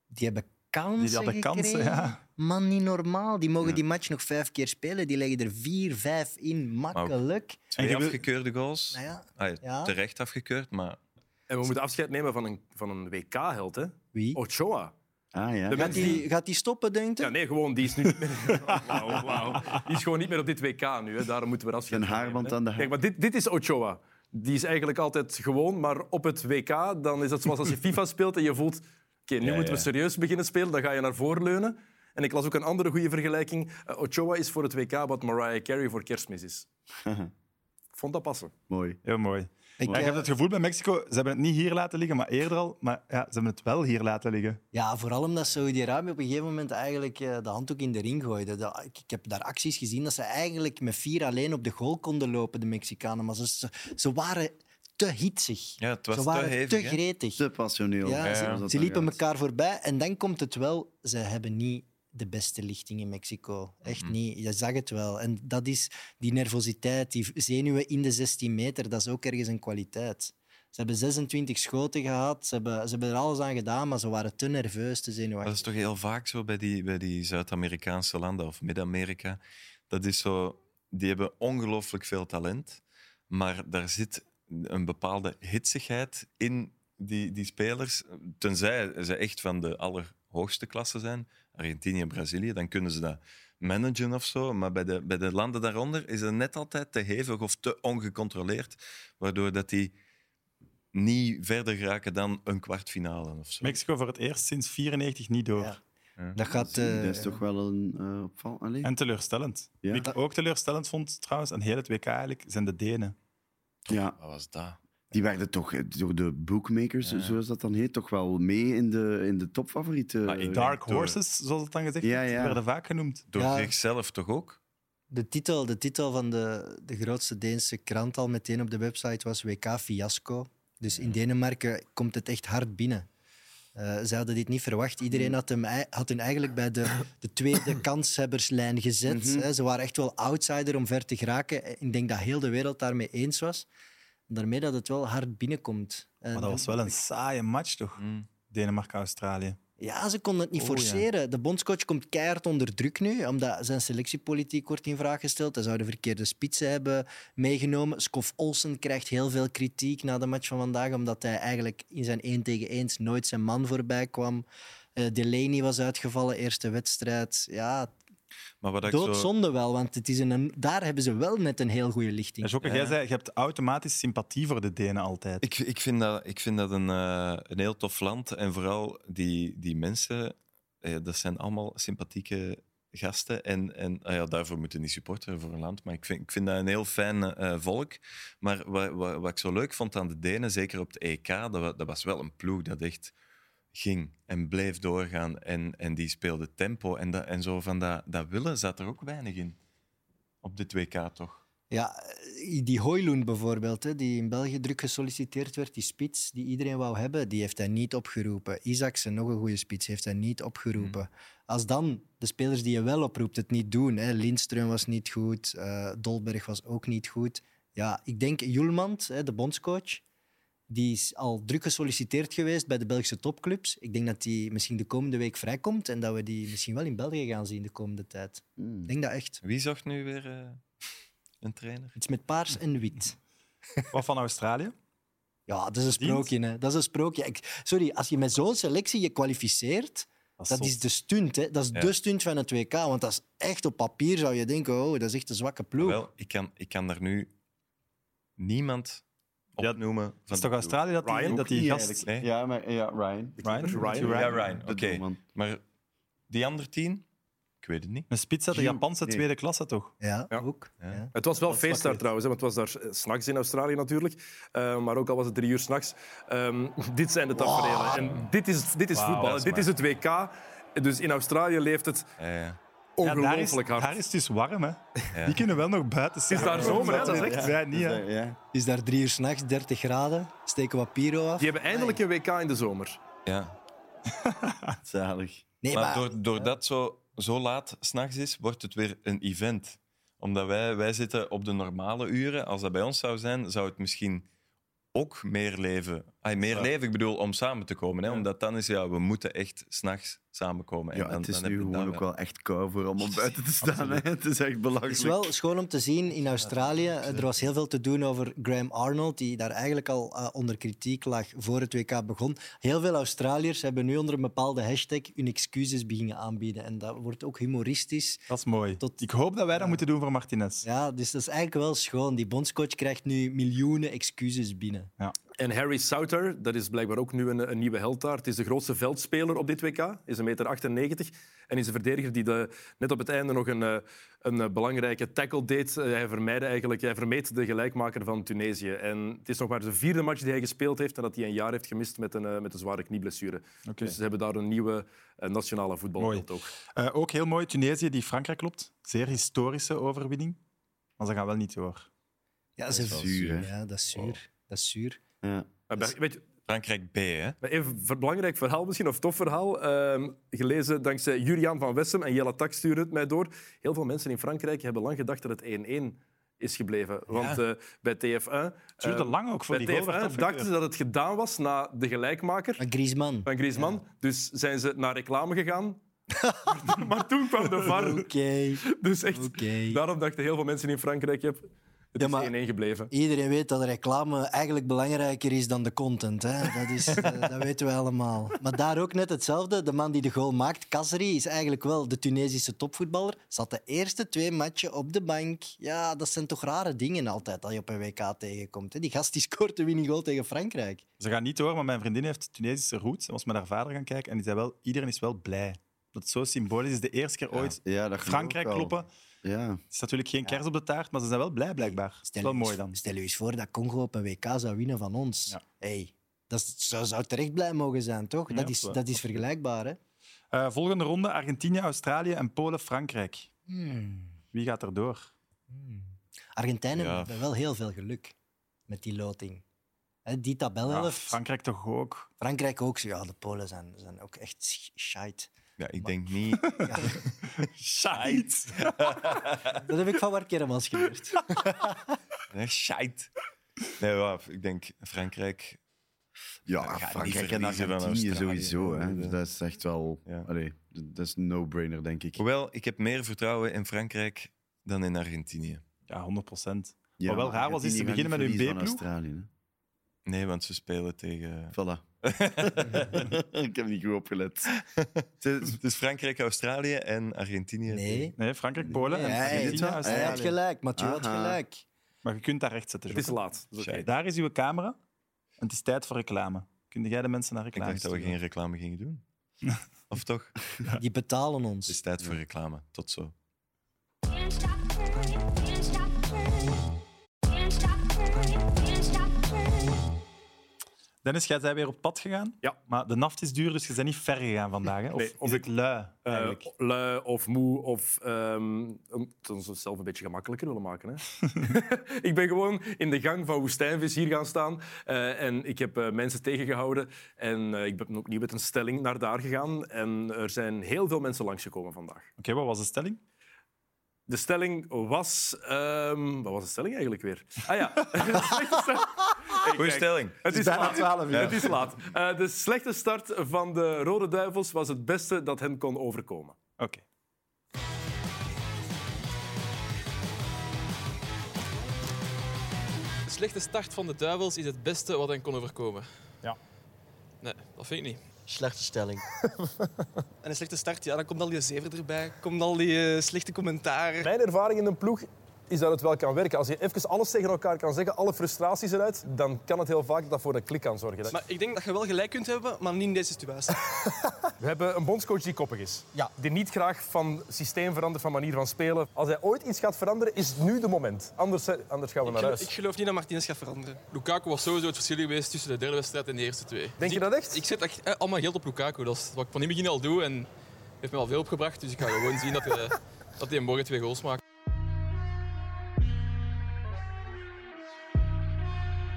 S2: Die hebben kansen
S1: die hadden kansen,
S2: gekregen.
S1: ja.
S2: Man, niet normaal. Die mogen
S5: Ja.
S2: die match nog vijf keer spelen. Die leggen er vier, vijf in. Makkelijk.
S4: Twee
S1: je wil-
S4: afgekeurde goals.
S2: Nou ja,
S4: Ah, ja,
S2: ja.
S4: Terecht afgekeurd, maar
S6: En we moeten afscheid nemen van een, van een WK-held, hè?
S2: Wie?
S6: Ochoa.
S5: Ah ja.
S6: De
S2: Oh, Gaat
S6: mensen die...
S2: die, gaat die stoppen, denkt u?
S6: Ja, nee, gewoon, die is nu niet meer... Wauw, wauw. Die is gewoon niet meer op dit WK nu, hè. Daarom moeten we er afscheid
S5: Een
S6: van nemen,
S5: haarband
S6: hè.
S5: aan de
S6: Kijk,
S5: haar.
S6: maar dit, dit is Ochoa. Die is eigenlijk altijd gewoon, maar op het WK dan is dat zoals als je FIFA speelt en je voelt... Oké, nu
S4: Ja,
S6: moeten we
S4: ja.
S6: serieus beginnen spelen. Dan ga je naar voren leunen. En ik las ook een andere goede vergelijking. Eh, Ochoa is voor het WK wat Mariah Carey voor kerstmis is. Ik vond dat passen.
S5: Mooi.
S1: Heel mooi.
S2: Ik,
S1: Maar ik
S2: eh,
S1: heb het gevoel bij Mexico, ze hebben het niet hier laten liggen, maar eerder al. Maar ja, ze hebben het wel hier laten liggen.
S2: Ja, vooral omdat Saudi-Arabië op een gegeven moment eigenlijk eh, de handdoek in de ring gooide. Dat- ik, ik heb daar acties gezien dat ze eigenlijk met vier alleen op de goal konden lopen, de Mexicanen. Maar ze, ze, ze waren te hitsig.
S4: ja, het was
S2: ze
S4: te
S2: waren
S4: hevig. hè.
S2: gretig.
S5: Te passioneel.
S2: Ja,
S5: Zoals
S2: ze,
S5: dat
S2: ze
S5: dan
S2: liepen
S5: gaat.
S2: elkaar voorbij en dan komt het wel. Ze hebben niet de beste lichting in Mexico. Echt
S5: Mhm.
S2: niet. Je zag het wel. En dat is die nervositeit, die zenuwen in de 16 meter, dat is ook ergens een kwaliteit. Ze hebben 26 schoten gehad, ze hebben, ze hebben er alles aan gedaan, maar ze waren te nerveus, te
S4: Dat
S2: zenuwachtig.
S4: is toch heel vaak zo bij die, bij die Zuid-Amerikaanse landen of Midden-Amerika. Dat is zo, die hebben ongelooflijk veel talent, maar daar zit een bepaalde hitsigheid in die, die spelers. Tenzij ze echt van de allerhoogste klasse zijn, Argentinië en Brazilië, dan kunnen ze dat managen of zo. Maar bij de, bij de landen daaronder is het net altijd te hevig of te ongecontroleerd, waardoor dat die niet verder geraken dan een kwartfinale of zo.
S1: Mexico voor het eerst sinds 94 niet door.
S2: Ja.
S4: Ja.
S2: Dat gaat.
S5: Zie,
S2: eh,
S5: dat is toch wel een eh opval. Allee.
S1: En teleurstellend.
S5: Ja.
S1: Wie ik ook teleurstellend vond, trouwens, aan heel het WK eigenlijk, zijn de Denen.
S5: Ja,
S4: Wat was dat?
S5: die werden toch eh, door de bookmakers,
S4: Ja.
S5: zoals dat dan heet, toch wel mee in de, in de topfavorieten. eh,
S4: Ah, ik-
S1: Dark
S4: door.
S1: Horses, zoals het dan gezegd
S5: Ja,
S1: wordt,
S5: ja.
S1: werden vaak genoemd.
S4: Door
S2: Ja.
S4: zichzelf toch ook?
S2: De titel, de titel van de, de grootste Deense krant al meteen op de website was WK Fiasco. Dus in Denemarken komt het echt hard binnen. Eh ze hadden dit niet verwacht. Iedereen had hem, ei- had hun eigenlijk bij de, de tweede kanshebberslijn gezet. hè. Ze waren echt wel outsider om ver te geraken. Ik denk dat heel de wereld daarmee eens was. Daarmee dat het wel hard binnenkomt. En-
S1: Maar dat was wel een saaie match, toch?
S6: Mm.
S1: Denemarken-Australië.
S2: ja, ze konden het niet
S1: Oh, ja.
S2: forceren. De bondscoach komt keihard onder druk nu, omdat zijn selectiepolitiek wordt in vraag gesteld. Hij zou de verkeerde spitsen hebben meegenomen. Skof Olsen krijgt heel veel kritiek na de match van vandaag, omdat hij eigenlijk in zijn 1 tegen 1 nooit zijn man voorbij kwam. Eh, Delaney was uitgevallen, eerste wedstrijd. Ja,
S4: Maar wat ik zo...
S2: Doodzonde wel, want het is een, daar hebben ze wel net een heel goede lichting.
S1: Jocke, jij zei, je hebt automatisch sympathie voor de Denen altijd.
S4: Ik, ik vind dat, ik vind dat een, eh, een heel tof land. En vooral die, die mensen, eh, dat zijn allemaal sympathieke gasten. En, en ah ja, daarvoor moeten niet supporteren voor een land. Maar ik vind, ik vind dat een heel fijn eh, volk. Maar wat, wat, wat ik zo leuk vond aan de Denen, zeker op het EK, dat, wa- dat was wel een ploeg dat echt ging en bleef doorgaan. En, en die speelde tempo. En, dat, en zo van dat, dat willen zat er ook weinig in. Op dit WK toch?
S2: Ja, eh, die Hoyloen bijvoorbeeld, hè, die in België druk gesolliciteerd werd, die spits die iedereen wou hebben, die heeft hij niet opgeroepen. Isaacsen, nog een goede spits, heeft hij niet opgeroepen. Als dan de spelers die je wel oproept het niet doen, hè, Lindström was niet goed, eh, Dolberg was ook niet goed. Ja, ik denk Julmand, hè, de bondscoach, die is al druk gesolliciteerd geweest bij de Belgische topclubs. Ik denk dat die misschien de komende week vrijkomt en dat we die misschien wel in België gaan zien de komende tijd.
S5: Mm.
S2: Ik denk dat echt.
S4: Wie zocht nu weer eh, een trainer?
S2: Iets met paars en wit.
S1: Wat van Australië?
S2: Ja, dat is een
S1: Verdiend.
S2: sprookje. Hè. Dat is een sprookje. Ik- sorry, als je met zo'n selectie je kwalificeert, dat,
S1: zot.
S2: is de stunt. Hè. Dat is
S4: Ja.
S2: de stunt van het WK. Want dat is echt op papier zou je denken, oh, dat is echt een zwakke ploeg.
S4: Wel, ik kan, ik kan daar nu niemand
S1: Ja,
S4: opnoemen. van
S1: Het is
S4: de
S1: toch
S4: ploeg.
S1: Australië dat die,
S6: Ryan?
S1: dat die
S5: Ja,
S1: gast...
S4: Nee?
S5: Ja, maar, ja, Ryan.
S1: Ryan?
S6: Ryan?
S4: Ja, Ryan. Oké.
S5: De doelman.
S4: Maar die andere tien? Ik weet het niet.
S1: Een spits uit de
S5: Gio-
S1: Japanse
S5: nee.
S1: tweede klasse, toch?
S2: Ja,
S6: Ja.
S2: ook. Ja.
S6: Het was wel feest daar
S1: smakelijk.
S6: trouwens, hè, want het was daar eh, 's nachts in Australië natuurlijk. Eh, maar ook al was het drie uur s'nachts. Ehm dit zijn de tafereelen. En dit is, dit is
S1: Wauw.
S6: voetbal.
S1: Dat
S6: hè.
S1: is
S6: Dit is het WK. Dus in Australië leeft het
S4: Eh, ja.
S1: Ja, daar, is,
S6: ongelooflijk hard.
S1: daar is het dus warm, hè. Die kunnen wel nog buiten zitten.
S6: daar zomer, hè? Dat is echt-
S1: Wij niet, hè.
S5: Ja, ja.
S2: Het is daar drie uur s'nachts, 30 graden, steken wat piro af.
S6: Die hebben eindelijk een WK in de zomer.
S4: ja.
S5: Zalig.
S2: Nee,
S4: maar
S2: maar-
S4: door, doordat het zo, zo laat s'nachts is, wordt het weer een event. Omdat wij, wij zitten op de normale uren. Als dat bij ons zou zijn, zou het misschien ook meer leven. Ah, meer leven, ik bedoel, om samen te komen. Hè? Omdat dan is, ja, we moeten echt s'nachts samenkomen. En
S5: Ja,
S4: dan,
S5: het is
S4: dan eh, heb
S5: nu
S4: je dat
S5: gewoon ook wel echt kou voor allemaal buiten te staan. Hè? Het is echt belangrijk.
S2: Het is wel schoon om te zien in Australië. eh, Er was heel veel te doen over Graham Arnold, die daar eigenlijk al eh, onder kritiek lag voor het WK begon. Heel veel Australiërs hebben nu onder een bepaalde hashtag hun excuses beginnen aanbieden. En dat wordt ook humoristisch.
S1: Dat is mooi.
S2: Tot-
S1: Ik hoop dat wij dat moeten doen voor Martinez.
S2: Ja, dus dat is eigenlijk wel schoon. Die bondscoach krijgt nu miljoenen excuses binnen.
S6: En Harry Souter, dat is blijkbaar ook nu een, een nieuwe held daar. Het is de grootste veldspeler op dit WK, is 1,98 meter. En is een verdediger die de, net op het einde nog een, eh, een eh, belangrijke tackle deed. Eh, Hij, vermijdde eigenlijk, hij vermeed de gelijkmaker van Tunesië. En het is nog maar de vierde match die hij gespeeld heeft en dat hij een jaar heeft gemist met een, eh, met een zware knieblessure. Dus ze hebben daar een nieuwe eh, nationale voetbalheld ook.
S1: Eh, ook heel mooi, Tunesië die Frankrijk klopt. Zeer historische overwinning. Maar ze gaan wel niet door.
S2: Ja, ze
S5: is wel zuur, hè?
S2: Ja, dat is zuur. Dat is zuur.
S5: Ja.
S6: Maar Eh, bij- Weet je,
S4: Frankrijk B, hè?
S6: Maar Even een ver- belangrijk verhaal misschien, of tof verhaal. ehm, gelezen dankzij Juriaan van Wessem en Jelle Tak stuurde het mij door. Heel veel mensen in Frankrijk hebben lang gedacht dat het 1-1 is gebleven. Want eh, bij TF1...
S1: Het duurde
S6: eh,
S1: lang ook voor
S6: bij
S1: die goal. werd
S6: TF1 dachten ze
S1: afgekeurd.
S6: dat het gedaan was na de gelijkmaker
S2: Maar Griezmann.
S6: van Griezmann. Dus zijn ze naar reclame gegaan. Maar- maar toen kwam de VAR.
S2: Oké.
S6: Dus echt,
S2: Oké.
S6: daarom dachten heel veel mensen in Frankrijk... "Jep, Het
S2: Ja,
S6: is
S2: maar-
S6: 1-1 gebleven.
S2: Iedereen weet dat reclame eigenlijk belangrijker is dan de content. Hè? Dat, is, eh, dat weten we allemaal. Maar daar ook net hetzelfde. De man die de goal maakt, Kasri, is eigenlijk wel de Tunesische topvoetballer. Zat de eerste twee matchen op de bank. Ja, dat zijn toch rare dingen altijd dat je op een WK tegenkomt. Hè? Die gast die scoort de winning goal tegen Frankrijk.
S1: Ze gaan niet door, maar mijn vriendin heeft Tunesische roots. Ze was met haar vader gaan kijken en die zei wel, iedereen is wel blij. Dat is zo symbolisch is. De eerste keer ooit
S5: Ja, dat geloof
S1: Frankrijk
S5: ik wel.
S1: kloppen.
S5: Ja.
S1: Het is natuurlijk geen kers op de taart, maar ze zijn wel blij, blijkbaar. Dat is wel
S2: u
S1: mooi
S2: eens-
S1: dan.
S2: Stel u eens voor dat Congo op een WK zou winnen van ons.
S1: Ja.
S2: Hey, dat is- zou, zou terecht blij mogen zijn, toch?
S1: Ja,
S2: dat, is,
S1: absoluut.
S2: dat is vergelijkbaar, hè?
S1: Eh, volgende ronde, Argentinië, Australië en Polen, Frankrijk.
S2: Hmm.
S1: Wie gaat er door?
S2: Argentijnen
S4: Ja.
S2: hebben wel heel veel geluk met die loting. Hè, die
S1: Ja,
S2: tabelhelft.
S1: Frankrijk toch ook?
S2: Frankrijk ook. zo. Ja, de Polen zijn, zijn ook echt sch- shite.
S4: Ja, ik denk niet.
S2: Ja,
S1: Scheids!
S2: dat heb ik van Mark Kermans geleerd.
S4: Eh, Shite. Nee, waf, ik denk Frankrijk.
S5: Ja,
S4: gaat niet
S5: Frankrijk en
S4: verliezen van
S5: Argentinië
S4: Australië.
S5: sowieso. Hè.
S4: Ja.
S5: Dat is echt wel...
S4: Ja.
S5: Allee, d- dat is een no-brainer, denk ik.
S4: Hoewel, ik heb meer vertrouwen in Frankrijk dan in Argentinië.
S1: Ja, 100 procent.
S5: Ja,
S1: wel raar was, is
S5: Argentinië
S1: ze
S5: gaat
S1: beginnen met
S5: niet
S1: hun
S5: verliezen van
S1: B-ploeg.
S5: Australië, hè.
S4: Nee, want ze spelen tegen...
S5: Voilà. ik heb niet goed opgelet.
S4: Het is Frankrijk, Australië en Argentinië.
S2: Nee.
S1: Nee, Frankrijk, Polen en
S2: Nee, hij-
S1: Argentinië,
S2: Hij had
S1: Australië.
S2: gelijk, Mathieu had
S5: Aha.
S2: gelijk.
S1: Maar je kunt daar recht zetten.
S6: Het is
S1: Jocke.
S6: laat. Dat is oké.
S4: Shit.
S1: Daar is uw camera. En het is tijd voor reclame. Kun jij de mensen naar
S4: Ik
S1: reclame
S4: dacht dat we geen reclame gingen doen. Of toch?
S2: Die betalen
S4: Het is
S2: ons.
S4: tijd voor reclame. Tot zo.
S3: Can't stop her, can't stop her, can't stop her, can't stop her.
S1: Dennis, jij bent weer op pad gegaan.
S6: Ja.
S1: Maar de naft is duur, dus je bent niet ver gegaan vandaag. Hè? Of,
S6: Nee, of
S1: is
S6: ik-
S1: het lui,
S6: Eh,
S1: eigenlijk?
S6: lui of moe of... ehm om het ons zelf een beetje gemakkelijker willen maken. Hè? ik ben gewoon in de gang van Woestijnvis hier gaan staan. eh, en ik heb eh, mensen tegengehouden. En eh, ik ben opnieuw met een stelling naar daar gegaan. En er zijn heel veel mensen langsgekomen vandaag.
S1: Oké, wat was de stelling?
S6: De stelling was... ehm, wat was de stelling eigenlijk weer? Ah ja. De slechte stelling. Hey,
S4: Goeie
S6: kijk,
S4: stelling.
S6: Het is
S1: bijna
S6: laat.
S1: 12 uur.
S6: Het is laat. Eh, de slechte start van de Rode Duivels was het beste dat hen kon overkomen.
S1: Oké.
S11: De slechte start van de duivels is het beste wat hen kon overkomen.
S1: Ja.
S11: Nee, dat vind ik niet.
S2: Slechte stelling.
S1: Oh,
S11: En een slechte start, ja, dan komt al die zever erbij, komt al die eh, slechte commentaren.
S6: Mijn ervaring in een ploeg is dat het wel kan werken. Als je even alles tegen elkaar kan zeggen, alle frustraties eruit, dan kan het heel vaak dat voor een klik kan zorgen.
S11: Maar ik denk dat je wel gelijk kunt hebben, maar niet in deze situatie.
S6: We hebben een bondscoach die koppig is.
S2: Ja.
S6: Die niet graag van systeem verandert, van manier van spelen. Als hij ooit iets gaat veranderen, is het nu de moment. Anders, eh, anders gaan we naar
S11: Ik gelo-
S6: huis.
S11: Ik geloof niet dat Martinez gaat veranderen. Lukaku was sowieso het verschil geweest tussen de derde wedstrijd en de eerste twee.
S6: Denk je dat echt?
S11: Ik zet echt, eh, allemaal geld op Lukaku. Dat is wat ik van in het begin al doe en heeft me al veel opgebracht. Dus ik ga gewoon zien dat hij, dat hij morgen twee goals maakt.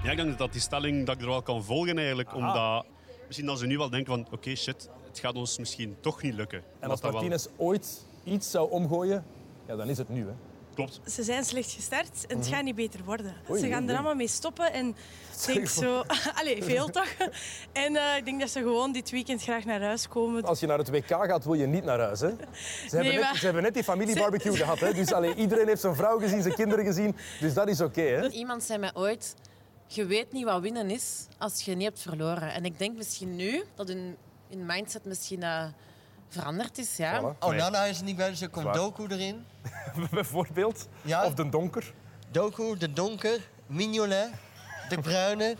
S12: Ja, ik denk dat die stelling dat ik er wel kan volgen eigenlijk,
S6: Ah.
S12: omdat misschien dat ze nu wel denken van oké shit, het gaat ons misschien toch niet lukken.
S6: En als
S12: Dat dat wel-
S6: Martinez ooit iets zou omgooien, ja, dan is het nu. Hè.
S12: Klopt.
S3: Ze zijn slecht gestart en het gaat niet beter worden.
S6: Oei,
S3: ze
S6: oei,
S3: gaan
S6: oei.
S3: er allemaal mee stoppen en ik denk zo... Allee, veel toch? En eh, ik denk dat ze gewoon dit weekend graag naar huis komen.
S6: Als je naar het WK gaat, wil je niet naar huis. Hè? Ze, hebben net,
S3: maar-
S6: ze hebben net die familiebarbecue gehad. Hè? Dus allee, iedereen heeft zijn vrouw gezien, zijn kinderen gezien. Dus dat is oké. hè?
S3: Iemand zei mij ooit, je weet niet wat winnen is als je niet hebt verloren. En ik denk misschien nu dat hun, hun mindset misschien eh, veranderd is, ja.
S6: Voilà.
S2: Oh, Nana is er niet bij, dus er komt
S6: Zwaar.
S2: Doku erin.
S6: Bijvoorbeeld.
S11: Ah.
S2: Ja.
S6: Of de donker.
S2: Doku, De Donker, Mignolet, De Bruyne,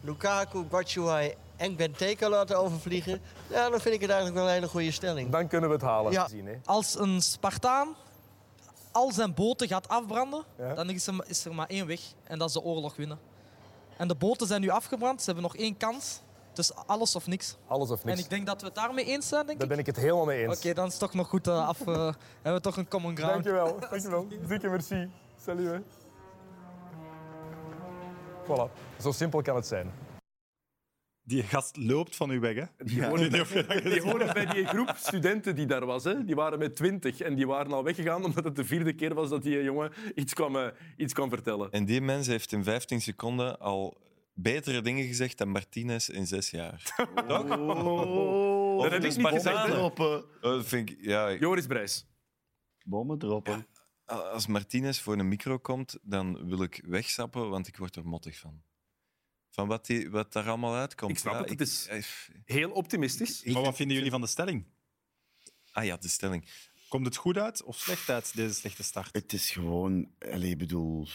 S2: Lukaku, Batshuayi en Benteke laten overvliegen. Ja, dan vind ik het eigenlijk wel een hele goede stelling.
S6: Dan kunnen we het halen.
S2: Ja.
S6: Zien, hè?
S11: Als een Spartaan al zijn boten gaat afbranden,
S6: Ja.
S11: dan is er, maar één weg. En dat is de oorlog winnen. En de boten zijn nu afgebrand, ze hebben nog één kans. Dus alles of niks.
S6: Alles of niks.
S11: En ik denk dat we het daarmee eens zijn, denk
S6: Daar
S11: ik.
S6: ben ik het helemaal mee
S11: Oké,
S6: eens.
S11: dan is het toch nog goed eh, af. eh, hebben we toch een common ground.
S6: Dankjewel. Dankjewel. Dikke merci. Salut. Hè. Voilà. Zo simpel kan het zijn.
S1: Die gast loopt van u weg, hè? Ja.
S6: Die hoorden bij die groep studenten die daar was. Hè. Die waren met twintig en die waren al weggegaan omdat het de vierde keer was dat die jongen iets kwam, eh, iets kwam vertellen.
S4: En die mens heeft in 15 seconden al betere dingen gezegd dan Martinez in zes jaar.
S5: Oh,
S4: Dat
S6: heb ik
S5: dus
S6: niet
S5: bommen
S6: gezegd, hè.
S5: droppen.
S4: Oh, dat vind ik, ja, ik-
S6: Joris Brijs.
S5: Bommen droppen.
S4: als Martinez voor een micro komt, dan wil ik wegsappen, want ik word er mottig van. Van wat, die, wat daar allemaal uitkomt.
S6: Ik snap het, het is-
S4: ik-
S6: Heel optimistisch.
S1: Maar wat vinden jullie van de stelling?
S4: ah ja, de stelling.
S1: Komt het goed uit of slecht uit, deze slechte start?
S5: Het is gewoon, allee, ik bedoel,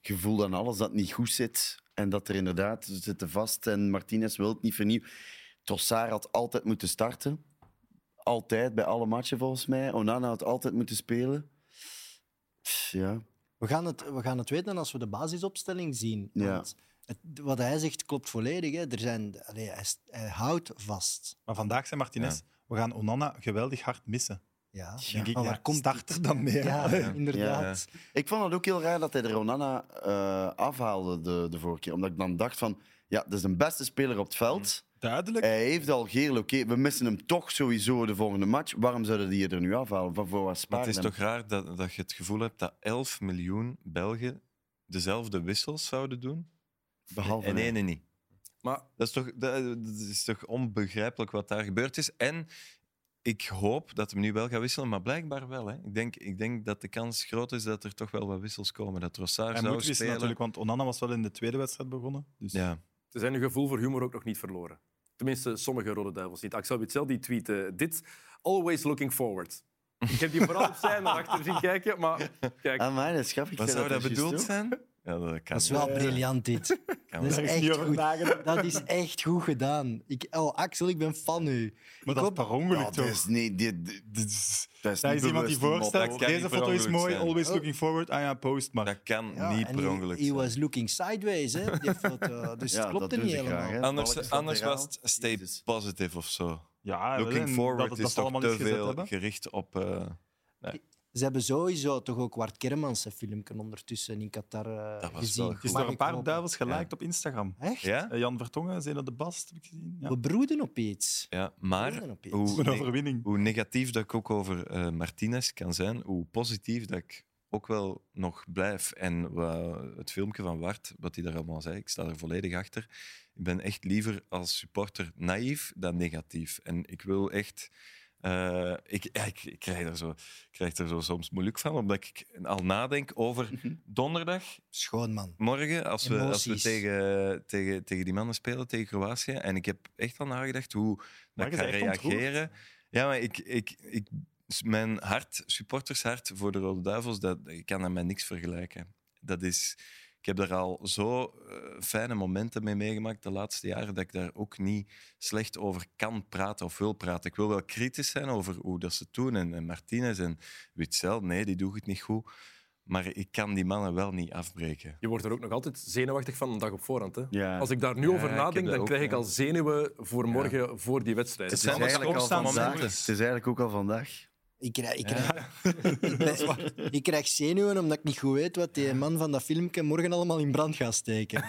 S5: je voelt aan alles dat het niet goed zit. En dat er inderdaad, ze zitten vast en Martinez wil het niet vernieuwen. Trossard had altijd moeten starten. Altijd, bij alle matchen volgens mij. Onana had altijd moeten spelen. Pff, Ja,
S2: We gaan het, we gaan het weten als we de basisopstelling zien.
S5: Ja.
S2: Want het- wat hij zegt klopt volledig. Hè. Er zijn, allee, hij, s- hij houdt vast.
S1: Maar vandaag zei Martinez, we gaan Onana geweldig hard missen.
S2: Ja.
S1: Denk ik,
S2: maar
S1: ja,
S2: waar komt dat?
S1: starter dan mee? hè?
S2: Ja, inderdaad.
S5: Ik vond het ook heel raar dat hij de Ronana eh, afhaalde de, de vorige keer. Omdat ik dan dacht van, ja, dat is de beste speler op het veld.
S4: Mm.
S1: Duidelijk.
S5: Hij heeft al geel, oké, we missen hem toch sowieso de volgende match. Waarom zouden die er nu afhalen? Van voor wat
S4: Maar
S5: sparen
S4: het is
S5: hem?
S4: toch raar dat, dat je het gevoel hebt dat 11 miljoen Belgen dezelfde wissels zouden doen
S5: Behalve
S4: en
S5: hij.
S4: ene niet.
S6: Maar
S4: Dat is, toch, dat, dat is toch onbegrijpelijk wat daar gebeurd is. En ik hoop dat hem nu wel gaat wisselen, maar blijkbaar wel. Hè. Ik, denk, ik denk dat de kans groot is dat er toch wel wat wissels komen. Dat Trossard
S1: Hij
S4: zou
S1: moet wisselen
S4: spelen.
S1: natuurlijk, want Onana was wel in de tweede wedstrijd begonnen. Dus
S4: Ja.
S6: Ze zijn hun gevoel voor humor ook nog niet verloren. Tenminste, sommige Rode Duivels niet. Axel Witsel die tweette dit. Always looking forward. Ik heb die vooral op zijn achter zien kijken, maar kijk.
S5: Amai, Ah, dat is grappig. Ik
S4: Wat
S5: zei
S4: zou dat
S5: juist
S4: bedoeld
S5: ook.
S4: zijn? Ja, dat kan
S2: Dat is wel
S4: niet.
S2: briljant, dit.
S4: Kan
S2: Dat is,
S4: wel.
S2: echt goed. dat is echt goed gedaan. Ik, oh, Axel, ik ben fan nu.
S1: Maar dat is per ongeluk,
S5: Ja,
S1: toch?
S5: dat is niet... Dit, dit is, dat is,
S1: Daar
S5: niet
S1: is iemand die
S5: bewust, man.
S1: voorstelt,
S4: Dat kan
S1: deze
S4: niet
S1: foto
S4: per
S1: is mooi,
S4: ongeluk zijn.
S1: always
S2: Oh.
S1: looking forward. Ah ja, post maar.
S4: Dat kan
S2: Ja,
S4: niet
S2: en
S4: per
S2: he-
S4: ongeluk
S2: He,
S4: zijn.
S2: was looking sideways, hè, op die foto. Dus
S5: Ja,
S2: het
S5: dat
S2: klopte
S5: doen
S2: niet
S5: ze graag,
S2: helemaal.
S5: hè.
S4: Anders,
S5: Balkjes
S4: anders
S5: lateraan.
S4: was het stay
S5: Jezus.
S4: positive of zo.
S1: Ja,
S4: Looking
S1: en
S4: forward
S1: dat, het
S4: is
S1: dat
S4: toch
S1: allemaal
S4: te
S1: niet gezet
S4: veel
S1: hebben.
S4: gericht op... eh,
S2: Ze hebben sowieso toch ook Wart Kermans zijn filmpje ondertussen in Qatar eh,
S4: Dat was
S2: gezien.
S4: wel goed.
S1: Er is
S2: Mag
S1: nog een
S2: ik
S1: paar
S2: hopen.
S1: duivels geliked op Instagram.
S2: Echt?
S4: ja?
S1: Eh, Jan Vertongen, Zena de Bast, heb ik gezien. Ja.
S2: We broeden op iets.
S4: ja, maar
S2: Broeden op iets.
S4: hoe,
S1: Een
S4: ne-
S1: overwinning.
S4: hoe negatief dat ik ook over eh, Martinez kan zijn, hoe positief dat ik ook wel nog blijf. En wa- het filmpje van Wart, wat hij daar allemaal zei, ik sta er volledig achter. Ik ben echt liever als supporter naïef dan negatief. En ik wil echt... eh, ik, ja, ik, ik krijg er zo, ik krijg er zo soms moeilijk van, omdat ik al nadenk over donderdag.
S2: Schoon man.
S4: Morgen, als we, als we
S2: Emoties.
S4: tegen, tegen, tegen die mannen spelen, tegen Kroatië. En ik heb echt al nagedacht hoe dat
S1: Maar
S4: ik
S1: je
S4: ga
S1: bent echt ontroerd.
S4: reageren. Ja, maar ik, ik, ik, s- mijn hart, supportershart voor de Rode Duivels, dat, ik kan dat met niks vergelijken. Dat is, ik heb daar al zo eh, fijne momenten mee meegemaakt de laatste jaren, dat ik daar ook niet slecht over kan praten of wil praten. Ik wil wel kritisch zijn over hoe dat ze het doen. En, en Martinez en Witzel, nee, die doen het niet goed. Maar ik kan die mannen wel niet afbreken.
S6: Je wordt er ook nog altijd zenuwachtig van een dag op voorhand. Hè?
S5: Ja.
S6: Als ik daar nu
S4: Ja,
S6: over
S4: ik heb
S6: nadenk,
S4: dat
S6: dan
S4: ook,
S6: krijg ik
S4: ja.
S6: al zenuwen voor morgen, voor die wedstrijd.
S4: Het
S6: Dus
S4: zijn eigenlijk al
S1: opstaan
S4: van
S5: Vandaag.
S4: momenten.
S5: Het is eigenlijk ook al vandaag.
S2: Ik krijg, ik, krijg, ik, ben- ik krijg zenuwen omdat ik niet goed weet wat die man van dat filmpje morgen allemaal in brand gaat steken.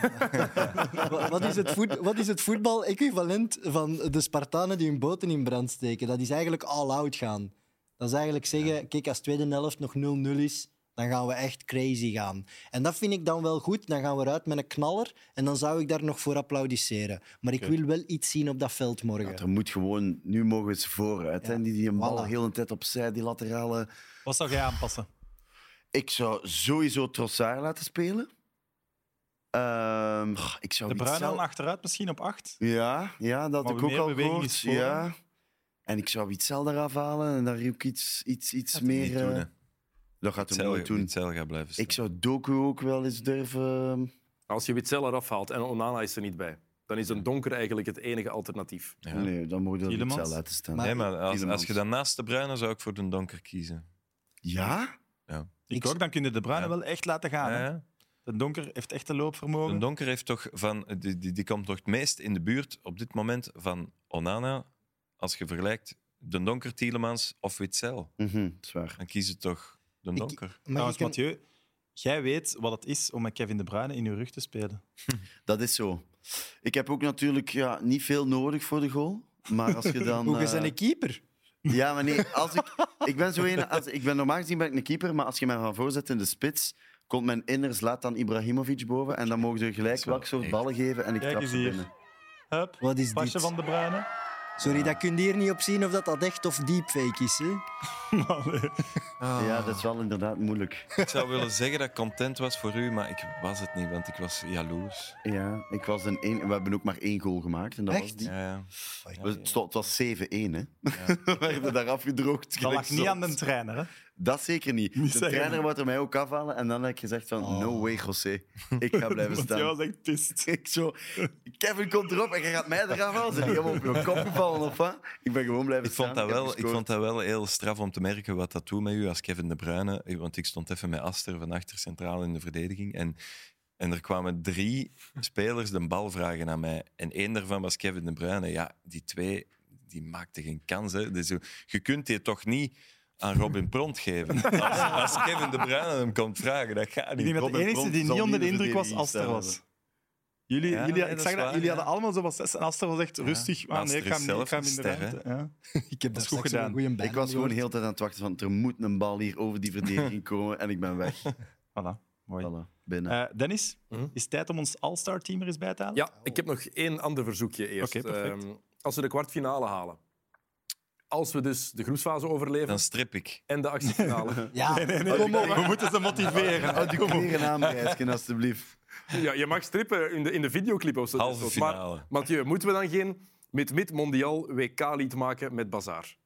S2: Wa- wat, is het voet, wat is het voetbal-equivalent van de Spartanen die hun boten in brand steken? Dat is eigenlijk all-out gaan. Dat is eigenlijk zeggen, kijk, als tweede helft nog 0-0 is, dan gaan we echt crazy gaan. En dat vind ik dan wel goed. Dan gaan we eruit met een knaller en dan zou ik daar nog voor applaudisseren. Maar ik wil wel iets zien op dat veld morgen.
S5: Er moet gewoon, nu mogen ze vooruit.
S2: Ja.
S5: En die, die een bal
S2: Voilà.
S5: heel een tijd opzij, die laterale.
S1: Wat zou jij aanpassen?
S5: Ik zou sowieso Trossard laten spelen. Ehm, goh, ik zou
S1: De Bruin
S5: Witzel-
S1: dan achteruit, misschien op acht?
S5: Ja, ja, dat
S1: Maar
S5: ik
S1: meer
S5: ook al
S1: beweging
S5: gehoord.
S1: is voor, hè?
S5: Ja. En ik zou Witzel eraf halen en daar ook iets, iets, iets meer...
S4: Niet doen,
S5: eh,
S4: hè.
S5: dat gaat hem nooit
S4: Hetzelfde-
S5: doen.
S4: hetzelfde gaat blijven staan.
S5: Ik zou Doku ook wel eens durven... ehm,
S6: Als je Witzel eraf haalt en Onana is er niet bij, dan is een donker eigenlijk het enige alternatief.
S4: Ja.
S5: Nee, dan moet je dat
S1: Tielemans?
S5: Witzel laten staan.
S2: Maar-
S4: Nee, maar als,
S5: Tielemans.
S4: als je dan naast de bruine zou ik voor de donker kiezen.
S5: Ja?
S1: Ik,
S2: Ik-
S1: ook, dan kunnen de Bruinen
S4: Ja.
S1: wel echt laten gaan.
S4: Ja,
S1: hè.
S4: ja.
S1: De Donker heeft echt een
S4: De
S1: loopvermogen.
S4: donker heeft toch van, die, die, die komt toch het meest in de buurt op dit moment van Onana. Als je vergelijkt de donker Tielemans of Witzel,
S5: Mhm, dat is waar.
S4: dan kiezen toch de donker.
S2: Mag
S1: Trouwens,
S2: ik een-
S1: Mathieu, jij weet wat het is om met Kevin De Bruyne in uw rug te spelen.
S5: Dat is zo. Ik heb ook natuurlijk ja, niet veel nodig voor de goal. Maar als je dan...
S2: Hoe je
S5: eh,
S2: zijn een keeper?
S5: Ja, maar nee, als ik, ik ben zo een, als, ik ben normaal gezien ben ik een keeper, maar als je mij van voor zet in de spits, komt mijn inners laat dan Ibrahimovic boven en dan mogen ze gelijk
S4: wel
S5: welk soort
S4: echt.
S5: ballen geven en ik
S1: Kijk
S5: trap
S1: eens
S5: ze
S1: hier.
S5: binnen.
S1: Hup,
S2: Wat is
S1: pasje
S2: dit?
S1: van De Bruyne.
S2: Sorry, dat kun je hier niet op zien of dat, dat echt of deepfake is. Hè?
S1: Allee.
S5: Ja, dat is wel inderdaad moeilijk.
S4: Ik zou willen zeggen dat ik content was voor u, maar ik was het niet, want ik was jaloers.
S5: Ja, ik was een één, we hebben ook maar één goal gemaakt en dat was
S2: Echt?
S5: die.
S4: Ja, ja.
S5: We- Het stond- het was 7-1, hè. we werden daar afgedroogd.
S1: Dat
S5: gelijk
S1: lag niet
S5: zot.
S1: aan de trainer. Hè?
S5: Dat zeker niet.
S1: Niet
S5: de
S1: zeggen.
S5: trainer wou er mij ook afhalen en dan heb ik gezegd van,
S4: Oh.
S5: no way, José. Ik ga blijven
S1: Want
S5: staan.
S1: jij was echt pist.
S5: Ik zo, Kevin komt erop en je gaat mij eraf halen. Ze helemaal op je kop gevallen of wat? Ik ben gewoon blijven
S4: Ik vond,
S5: staan.
S4: dat wel,
S5: heb
S4: ik vond dat wel heel straf om te merken wat dat doet met u als Kevin De Bruyne. Eh, Want ik stond even met Aster van achter centraal in de verdediging. En, en er kwamen drie spelers de bal vragen aan mij. En één daarvan was Kevin De Bruyne. Ja, die twee die maakten geen kans. Hè. Dus je- je kunt die toch niet aan Robin Pront geven. Als, als Kevin De Bruyne hem komt vragen, dat gaat
S1: Ik
S4: niet.
S1: denk dat de
S5: Robin
S1: enige
S5: Pront
S1: die
S5: zal
S1: niet onder de
S5: niet
S1: indruk was Aster
S5: verdediging staan
S1: was. Jullie,
S4: Ja,
S1: jullie,
S4: nee,
S1: ik
S4: dat
S1: zag
S4: is
S1: dat,
S4: waar,
S1: jullie
S4: ja.
S1: hadden allemaal zo wat zes en Aster was echt rustig. Ah,
S4: Aster
S1: nee, ik ga
S4: is
S1: hem niet- ik
S4: zelf
S1: ga hem in de
S4: een ster, hè.
S1: ruimte. Ja.
S2: Ik
S1: Dat
S2: heb daar
S1: is goed
S2: straks wel
S1: gedaan.
S2: een goede
S5: Ik was gewoon heel tijd aan het wachten van, er moet een bal hier over die verdediging komen en ik ben weg.
S1: Voilà, mooi.
S5: Voilà, binnen.
S1: Eh, Dennis,
S6: Mhm.
S1: is het tijd om ons All-Star team er eens bij te halen?
S6: Ja, ik heb nog één ander verzoekje eerst.
S1: Oké, perfect.
S6: Ehm, als we de kwartfinale halen, als we dus de groepsfase overleven...
S4: Dan strip ik.
S6: En de actiefinale.
S2: Ja.
S1: Nee, nee, nee. We moeten ze motiveren.
S5: Houd die kleren aan, Gijsken, alstublieft.
S6: Ja, je mag strippen in de, in de videoclip of zo.
S4: Halve
S6: Dus,
S4: finale.
S6: Maar, Mathieu, moeten we dan geen mid-mid-mondial WK-lied maken met Bazaar?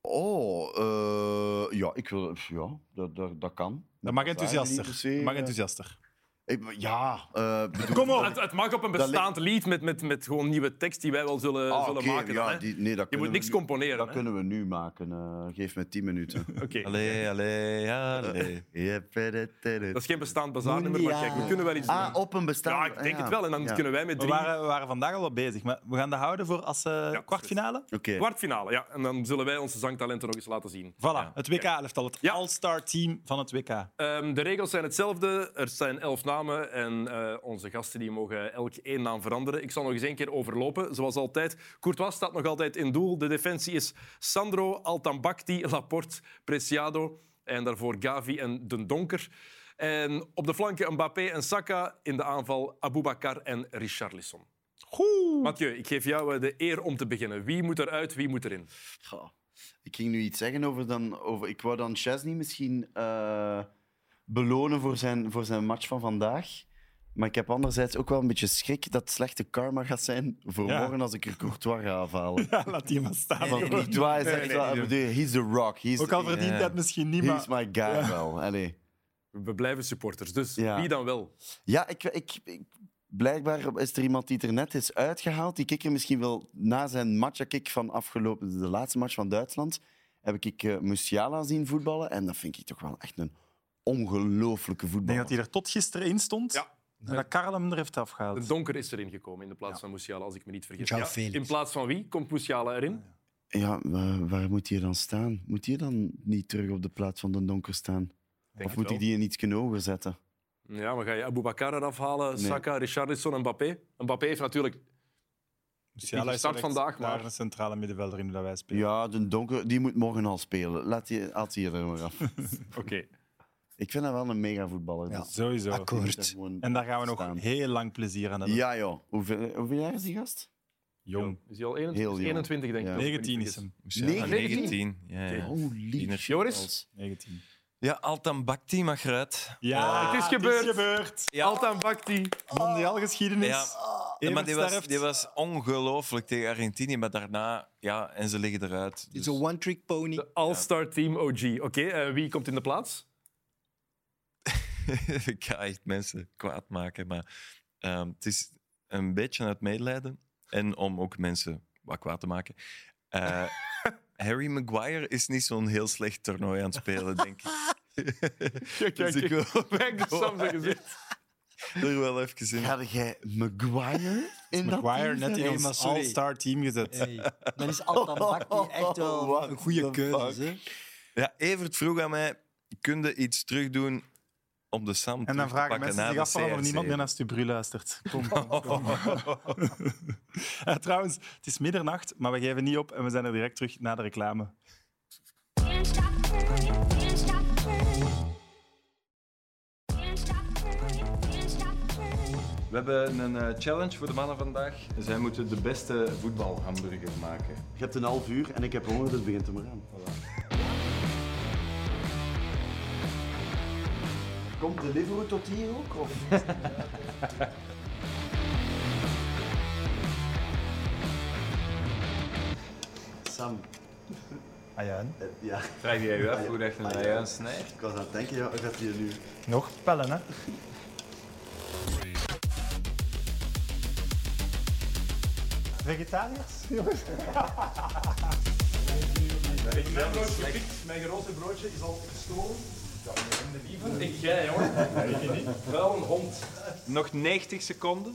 S5: Oh, eh, ja, ik wil, ja dat, dat, dat kan.
S1: Dat mag
S5: Niet per se,
S1: enthousiaster. Dat mag
S5: eh,
S1: enthousiaster.
S5: ik- ja, eh, bedoel-
S1: Kom op.
S6: Het, het mag op een
S5: Dat
S6: bestaand lied met, met, met gewoon nieuwe tekst die wij wel zullen,
S5: Ah,
S6: zullen
S5: oké,
S6: maken.
S5: ja,
S6: dan, hè.
S5: die- nee, dat
S6: je
S5: kunnen
S6: moet
S5: we
S6: niks
S5: nu-
S6: componeren.
S5: Dat
S6: hè.
S5: kunnen we nu maken. eh, geef me 10 minuten.
S6: Oké.
S4: Allee,
S1: Eh,
S4: allee, allee.
S5: Ja, pere, tere.
S6: Dat is geen bestaand bazaarnummer, maar kijk, we kunnen wel iets doen.
S5: Ah, op een
S6: ja,
S5: bestaande.
S6: ik denk
S5: ah,
S6: het wel. En dan
S5: ja.
S6: kunnen wij met
S1: We
S6: drie...
S1: waren, we waren vandaag al wat bezig, maar we gaan dat houden voor als eh,
S6: Ja,
S1: kwartfinale.
S5: Oké.
S6: Kwartfinale, ja. En dan zullen wij onze zangtalenten nog eens laten zien.
S1: Voilà, het WK-elftal, het all-star team van het WK.
S6: Ehm, de regels zijn hetzelfde. Er zijn elf namen en eh, onze gasten die mogen elk één naam veranderen. Ik zal nog eens één keer overlopen, zoals altijd. Courtois staat nog altijd in doel. De defensie is Sandro, Altambacti, Laporte, Preciado en daarvoor Gavi en Den Donker. En op de flanken Mbappé en Saka. In de aanval Aboubakar en Richarlison.
S1: Goed.
S6: Mathieu, ik geef jou eh, de eer om te beginnen. Wie moet eruit, wie moet erin?
S5: Goh. Ik ging nu iets zeggen over dan. Over, ik wou dan Chesney misschien eh, belonen voor zijn, voor zijn match van vandaag. Maar ik heb anderzijds ook wel een beetje schrik dat het slechte karma gaat zijn voor
S1: Ja.
S5: morgen als ik er Courtois ga afhalen.
S1: Ja, laat die maar staan.
S5: Want Courtois is echt wel... ik bedoel, He's the rock. He's,
S1: Ook al verdient
S4: Ja.
S1: dat misschien niet,
S5: he's
S1: maar...
S5: my guy wel. Allee.
S6: We blijven supporters, dus
S5: Ja.
S6: wie dan wel?
S5: Ja, ik, ik, ik- blijkbaar is er iemand die er net is uitgehaald. Die ik er misschien wel na zijn match, dat ik van afgelopen, de laatste match van Duitsland, heb ik eh Musiala zien voetballen. En dat vind ik toch wel echt een ongelooflijke
S1: Ik denk
S5: voetballer.
S1: dat hij er tot gisteren in stond
S6: Ja.
S1: en dat Karel hem er heeft
S6: De
S1: afgehaald.
S6: donker is erin gekomen in de plaats van Musiala, als ik me niet vergis.
S2: João Felix.
S6: In plaats van wie komt Musiala erin?
S5: Ja, waar, waar moet hij dan staan? Moet hij dan niet terug op de plaats van de donker staan?
S6: Denk
S5: of
S6: het
S5: moet
S6: wel.
S5: ik die in iets hoger zetten?
S6: Ja, maar ga je Aboubakar eraf halen,
S5: Nee.
S6: Saka, Richarlison en Mbappé? Mbappé heeft natuurlijk...
S1: Musiala
S6: gestart
S1: direct
S6: vandaag, maar-
S1: daar een centrale middenvelder in hoe dat wij spelen.
S5: Ja, de donker, die moet morgen al spelen. Laat die, haalt die er maar af.
S6: Oké.
S5: ik vind dat wel een mega voetballer.
S2: Ja.
S5: dus
S1: Sowieso.
S5: die moet daar
S2: Akkoord.
S5: gewoon-
S1: En daar gaan we nog
S5: Staan.
S1: heel lang plezier aan hebben.
S5: Ja joh, hoeveel, hoeveel jaar is die gast?
S1: Jong.
S6: Is hij al 21,
S5: Heel
S6: Is
S5: jong.
S6: 21 denk ik.
S5: Ja.
S6: als ik me niet
S1: 19 is
S6: vergis.
S1: hem.
S4: Musiala,
S5: 19?
S4: 19. Ja, ja.
S5: Holy
S4: Tiener.
S6: Joris?
S1: 19.
S4: Ja, Altan Bakti mag eruit.
S1: Ja,
S6: Eh, het is gebeurd.
S1: gebeurd.
S4: Ja.
S6: Altan Bakti.
S1: Mondiaal geschiedenis.
S4: Ja.
S1: Ah.
S4: Ja, maar die
S1: Evert
S4: was,
S1: sterft.
S4: die was ongelooflijk tegen Argentinië, maar daarna, ja, en ze liggen eruit.
S2: Het is
S4: Dus-
S2: een one-trick pony.
S6: De All-Star Team OG. Oké, eh, wie komt in de plaats?
S4: ik ga echt mensen kwaad maken, maar ehm, het is een beetje uit medelijden en om ook mensen wat kwaad te maken. Eh, Harry Maguire is niet zo'n heel slecht toernooi aan het spelen, denk ik.
S6: Kijk,
S4: Dus ik wil
S6: Kijk, de Sam zijn gezicht.
S4: er wel even in.
S5: Had jij Maguire in
S1: Maguire
S5: dat
S1: net in
S2: Hey,
S1: ons
S2: maar sorry.
S1: all-star team gezet.
S2: Hey, dan is Altabak echt wel
S5: What
S2: een goede
S5: the
S2: keuze. hè.
S4: Ja, Evert vroeg aan mij, kun je iets terugdoen om de Sam
S1: En
S4: terug
S1: dan
S4: te
S1: vragen
S4: pakken
S1: mensen
S4: na
S1: zich
S4: de
S1: af waarom er
S4: CRC?
S1: niemand meer naar Stubru luistert. Kom, kom, kom. Eh, trouwens, het is middernacht, maar we geven niet op en we zijn er direct terug na de reclame.
S13: Can't stop turning, can't stop turning. Can't stop turning, can't stop turning.
S8: We hebben een eh, challenge voor de mannen vandaag. Zij moeten de beste voetbalhamburger maken.
S5: Je hebt een half uur en ik heb honger, dus begint er maar aan. Komt Deliveroo tot hier ook? Of? Sam,
S9: Ah ja, en?
S5: eh, ja, Ah,
S8: Vraag jij je af hoe dat je een ajuin snijdt?
S5: ik was aan het denken, ja, gaat hier nu...
S9: nog pellen, hè? Vegetariërs? Jongens.
S6: Mijn grote broodje is al gestolen. Liever. Ik jij, jongen. Wel een hond.
S8: Nog 90 seconden.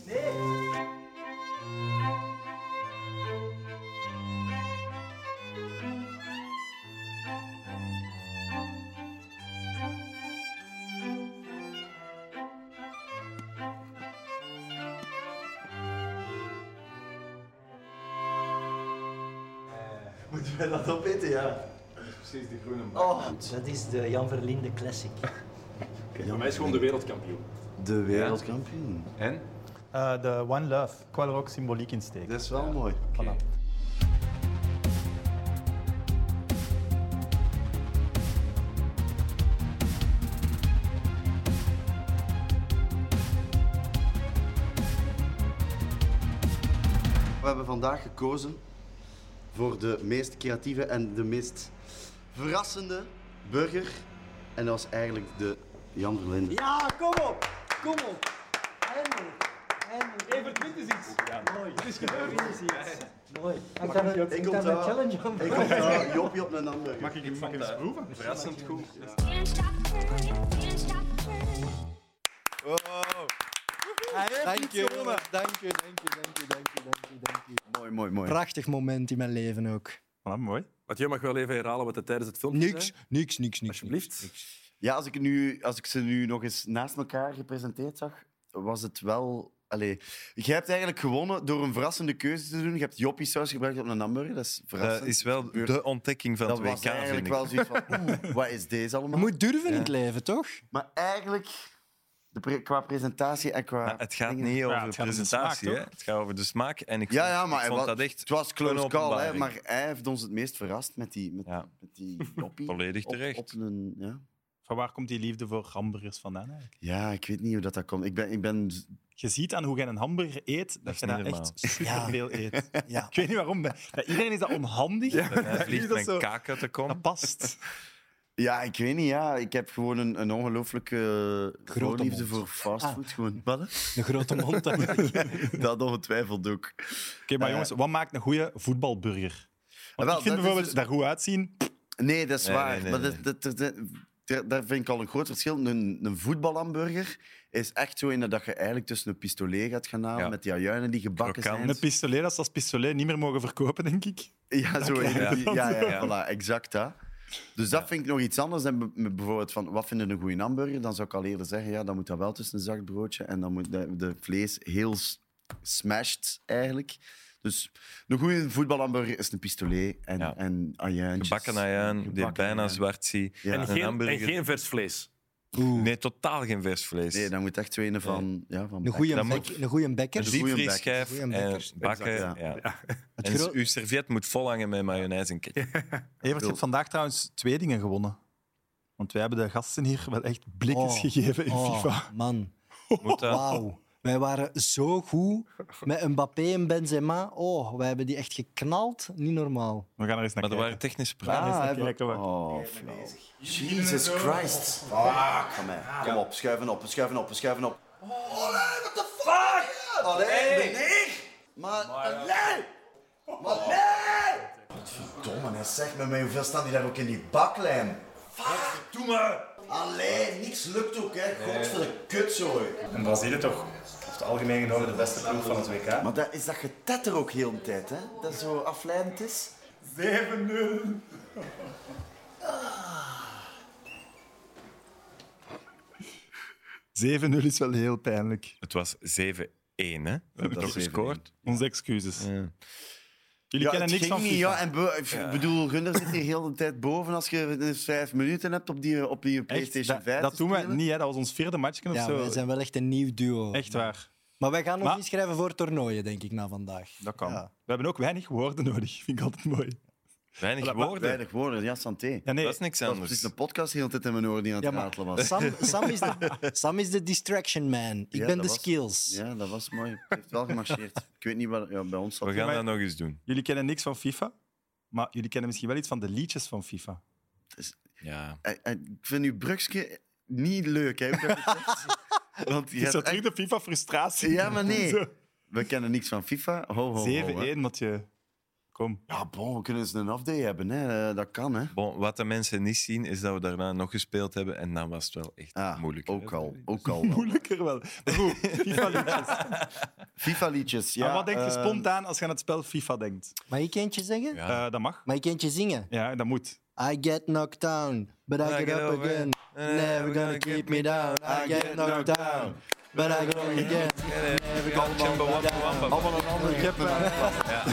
S5: Moeten wij dat opeten, ja?
S8: Precies de groene man.
S5: Oh.
S2: Dat is de Jan Verlinde Classic.
S6: Voor mij is gewoon de wereldkampioen.
S5: De wereldkampioen.
S8: En?
S9: Eh, De One Love. Ik wou er ook symboliek in steken.
S5: Dat is wel mooi.
S8: Oké.
S14: We hebben vandaag gekozen voor de meest creatieve en de meest verrassende burger. En dat was eigenlijk de Jan Verlinde.
S15: Ja, kom op. Kom op. En, en... Evert Wint is iets. Mooi. Er is gebeurd. is iets. Mooi. En dan
S14: Ik
S15: een
S14: onthoud-
S15: challenge aan
S14: Ik onthoud Jopie op een hamburger.
S1: Mag ik, mag ik eens proeven? Verrassend goed.
S4: Wow.
S2: Dank je,
S5: gewonnen.
S2: dank je, dank je, dank je, dank je, dank je, dank je.
S5: Mooi, mooi, mooi.
S2: Prachtig moment in mijn leven ook.
S1: mooi.
S6: Mathieu mag wel even herhalen wat hij tijdens het filmpje
S5: Niks,
S6: zei.
S2: Niks, niks, niks.
S6: Alsjeblieft.
S5: Ja, als ik, nu, als ik ze nu nog eens naast elkaar gepresenteerd zag, was het wel... Allee, je hebt eigenlijk gewonnen door een verrassende keuze te doen. Je hebt Joppie saus gebruikt op een hamburger. Dat is verrassend.
S4: Dat is wel
S5: gebeurt.
S4: de ontdekking van
S5: dat
S4: het WK,
S5: was eigenlijk wel
S4: vind ik.
S5: zoiets van, oeh, wat is deze allemaal?
S2: Je moet durven in
S5: Ja.
S2: het leven, toch?
S5: Maar eigenlijk, de pre- qua presentatie en qua...
S4: Maar het gaat niet over de presentatie, hè? het gaat over de smaak. En ik
S5: Ja,
S4: vond,
S5: ja, maar
S4: ik
S5: hij
S4: vond
S5: wa-
S4: dat echt
S5: het was close
S4: een
S5: call, hè,
S4: openbaring.
S5: maar hij heeft ons het meest verrast met die, met, met die joppie.
S4: Volledig
S5: Op-
S4: terecht.
S5: op een, ja.
S1: Van waar komt die liefde voor hamburgers vandaan eigenlijk?
S5: Ja, ik weet niet hoe dat, dat komt. Ik ben, ik ben...
S1: Je ziet aan hoe jij een hamburger eet, dat,
S5: is
S1: je daar
S5: niet normaal.
S1: echt superveel eet. Ik weet niet waarom. maar- Bij iedereen is dat onhandig.
S4: Bij mij
S1: Bij
S4: vliegt
S1: is dat
S4: mijn
S1: zo-
S4: kaak uit de kom.
S1: Dat past.
S5: Ja, ik weet niet. Ja. Ik heb gewoon een, een ongelooflijke
S2: Grote
S5: liefde
S2: mond.
S5: voor
S1: Ah.
S5: fastfood. Gewoon. Wat? hè?
S2: Een grote mond. hè?
S5: dat ongetwijfeld ook. Oké,
S1: maar jongens, wat maakt een goede voetbalburger? Want
S5: wel,
S1: ik vind
S5: dat is
S1: bijvoorbeeld
S5: dus-
S1: daar goed uitzien.
S5: Nee, dat is
S1: Nee,
S5: waar.
S1: nee, nee,
S5: maar
S1: nee.
S5: Dat, dat, dat- dat- daar vind ik al een groot verschil. Een, een voetbalhamburger is echt zo in dat je eigenlijk tussen een pistolet gaat gaan halen met die ajuinen die gebakken zijn.
S1: Een pistolet dat ze als pistolet niet meer mogen verkopen, denk ik.
S5: Ja, zo.
S1: Dat
S5: in-
S1: krijg je
S5: Ja,
S1: dan
S5: ja,
S1: zo.
S5: voilà, exact. Hè. Dus dat vind ik nog iets anders dan b- bijvoorbeeld van wat vinden een goede hamburger. Dan zou ik al eerder zeggen, ja, dan moet dat wel tussen een zacht broodje en dan moet de, de vlees heel s- smashed eigenlijk. Dus een goede voetbalhamburger is een pistolet en, en ajuintjes.
S4: Gebakken ajuin, die
S5: Gebakken
S4: bijna
S5: ajuin.
S4: zwart zie.
S5: Ja. En
S4: Een
S5: geen- en
S4: hamburger.
S5: geen
S6: vers vlees?
S4: Nee, totaal geen vers vlees.
S5: Nee, nou, dan moet echt zo een van... Ja, van
S2: Een goeie
S4: Dan
S2: bek-
S4: moet-
S2: een goeie bekker.
S4: Een
S2: Een goeie
S4: diepvriesschijf
S2: bekker.
S4: en
S2: Een goeie bekker.
S4: bakken.
S2: Exact,
S4: ja.
S2: Het
S4: En
S2: gro-
S4: uw serviet moet volhangen met mayonaise en ketchup.
S1: Evert, je hebt vandaag trouwens twee dingen gewonnen. Want wij hebben de gasten hier wel echt blikjes
S2: Oh,
S1: gegeven in
S2: oh,
S1: FIFA.
S2: Man.
S4: Moet dat?
S2: Wauw. Wij waren zo goed met Mbappé en Benzema. Oh, wij hebben die echt geknald. Niet normaal.
S1: We gaan er eens naar
S4: Maar
S1: kijken.
S4: er waren technische
S1: We gaan er eens naar
S5: Ah, hebben-
S1: kijken. wat-
S5: Oh, flauw. Jesus Christ. Fuck. Kom, hè. Kom op, schuiven op, schuiven op, schuiven op.
S13: Allee, what the fuck?
S5: Allee,
S13: ik?
S5: Maar, Oh.
S13: allee! Maar
S5: Domme, hè. zeg me maar hoeveel staan die daar ook in die baklijn? Fuck. Doe me. Allee, niks lukt ook, hè. Godverdomme kutzooi.
S1: En Brazilië toch, over het algemeen genomen, de beste ploeg van het WK.
S5: Maar dat is dat getetter ook heel de tijd, hè? Dat zo afleidend is.
S13: 7-0.
S1: Nee. 7-0 is wel heel pijnlijk.
S4: Het was 7-1, hè? We hebben
S1: was
S4: toch gescoord?
S1: Onze excuses. Jullie
S5: ja,
S1: kennen
S5: het
S1: niks
S5: ging
S1: van
S5: niet,
S1: FIFA.
S5: ja. En be- ik
S1: Ja.
S5: bedoel, Gunnar zit hier heel de tijd boven als je dus vijf minuten hebt op die, op die PlayStation
S1: dat,
S5: 5.
S1: dat doen wij niet, hè. dat was ons vierde matchje of
S2: Ja,
S1: zo.
S2: wij zijn wel echt een nieuw duo.
S1: Echt waar.
S2: Maar wij gaan ons
S1: Maar-
S2: inschrijven voor toernooien, denk ik, na vandaag.
S1: Dat kan.
S2: Ja.
S1: We hebben ook weinig woorden nodig, vind ik altijd mooi.
S4: Weinig
S1: Voilà, maar-
S4: woorden.
S5: Weinig woorden, ja, santé.
S1: Ja, nee.
S4: Dat is niks anders.
S5: Het is een podcast heel de tijd in mijn oren die aan
S2: Ja,
S5: het
S2: maar
S5: ratelen was.
S2: Sam, Sam, is de, Sam is de distraction man. Ik
S5: Ja,
S2: ben
S5: dat
S2: de
S5: was-
S2: skills.
S5: Ja, dat was mooi. Het heeft wel gemarcheerd. Ik weet niet wat ja, bij ons zat.
S4: We gaan dat nog eens doen.
S1: Jullie kennen niks van FIFA, maar jullie kennen misschien wel iets van de liedjes van FIFA.
S4: Ja.
S5: Eh, eh, Ik vind uw brugje niet leuk, hè? hoe dat je het zegt. Want je
S1: is
S5: hebt
S1: dat terug
S5: echt-
S1: de FIFA-frustratie?
S5: Ja, maar nee.
S1: Zo.
S5: We kennen niks van FIFA. Ho,
S1: Oh,
S5: ho, ho, hè.
S1: 7-1, Mathieu. Kom.
S5: Ja, bon, we kunnen eens een afday hebben, hè. Eh, Dat kan, hè.
S4: Bon, wat de mensen niet zien, is dat we daarna nog gespeeld hebben en dan was het wel echt moeilijk.
S5: Ah, Ook al, ook al. wel.
S1: Moeilijker wel. Maar goed, FIFA-liedjes.
S5: FIFA-liedjes, ja.
S1: Aan Ah, wat denk je
S5: eh,
S1: spontaan als je aan het spel FIFA denkt?
S2: Mag ik eentje zeggen?
S1: Eh, dat mag.
S2: Mag ik eentje zingen?
S1: Ja, dat moet.
S2: I get knocked down, but I get up again. Never gonna keep me down. I get knocked down, but I get up again. Never gonna
S4: Kaltje,
S2: walk
S4: wappa,
S2: down.
S4: wappa. Allemaal
S5: een andere kippen.
S4: Ja.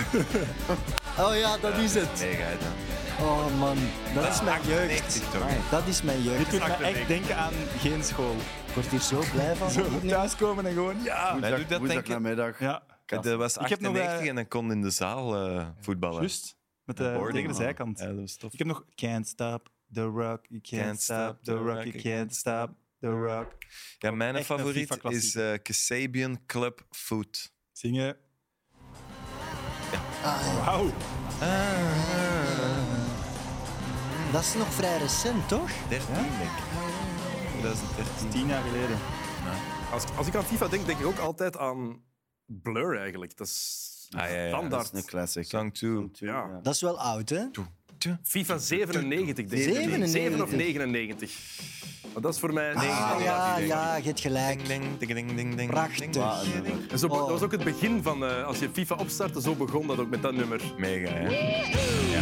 S2: Oh ja, dat is het.
S4: Nee, ga je dan.
S2: Oh man, dat is mijn jeugd.
S4: 98 toch?
S2: Dat is mijn
S1: Dit
S2: jeugd.
S1: doet me echt denken aan geen school.
S2: Ik word hier zo blij van.
S1: Zo thuiskomen en gewoon... Ja,
S4: Wij doen dat denk ik.
S5: namiddag.
S1: ja.
S4: Kijk, dat was
S1: Ik heb nog, eh,
S4: 98 en dan kon in de zaal eh, voetballen.
S1: Juist. Met de,
S4: Boarding,
S1: tegen de
S4: man.
S1: zijkant.
S4: Ja, dat was tof.
S1: Ik heb nog Can't Stop the Rock, you can't, stop the rock, you can't stop the rock.
S4: Ja, mijn
S1: Echt een
S4: favoriet eh,
S1: FIFA-klassieker.
S4: is eh Kasabian Club Foot.
S1: Zingen. Wauw.
S2: Dat is nog vrij recent, toch?
S4: 13, denk ik. 2013.
S1: Tien jaar geleden.
S6: Als, als ik aan FIFA denk, denk ik ook altijd aan Blur eigenlijk. Dat is standaard.
S5: Dat is een classic.
S4: Song 2.
S6: Ja.
S2: Dat is wel oud, hè?
S6: FIFA 97, denk ik.
S2: 97.
S6: 7 of 99. Maar dat is voor mij...
S2: Ah, ja, ja, je hebt gelijk. Prachtig.
S6: En zo, be- Dat was ook het begin van... eh, als je FIFA opstartte, zo begon dat ook met dat nummer.
S4: Mega, hè?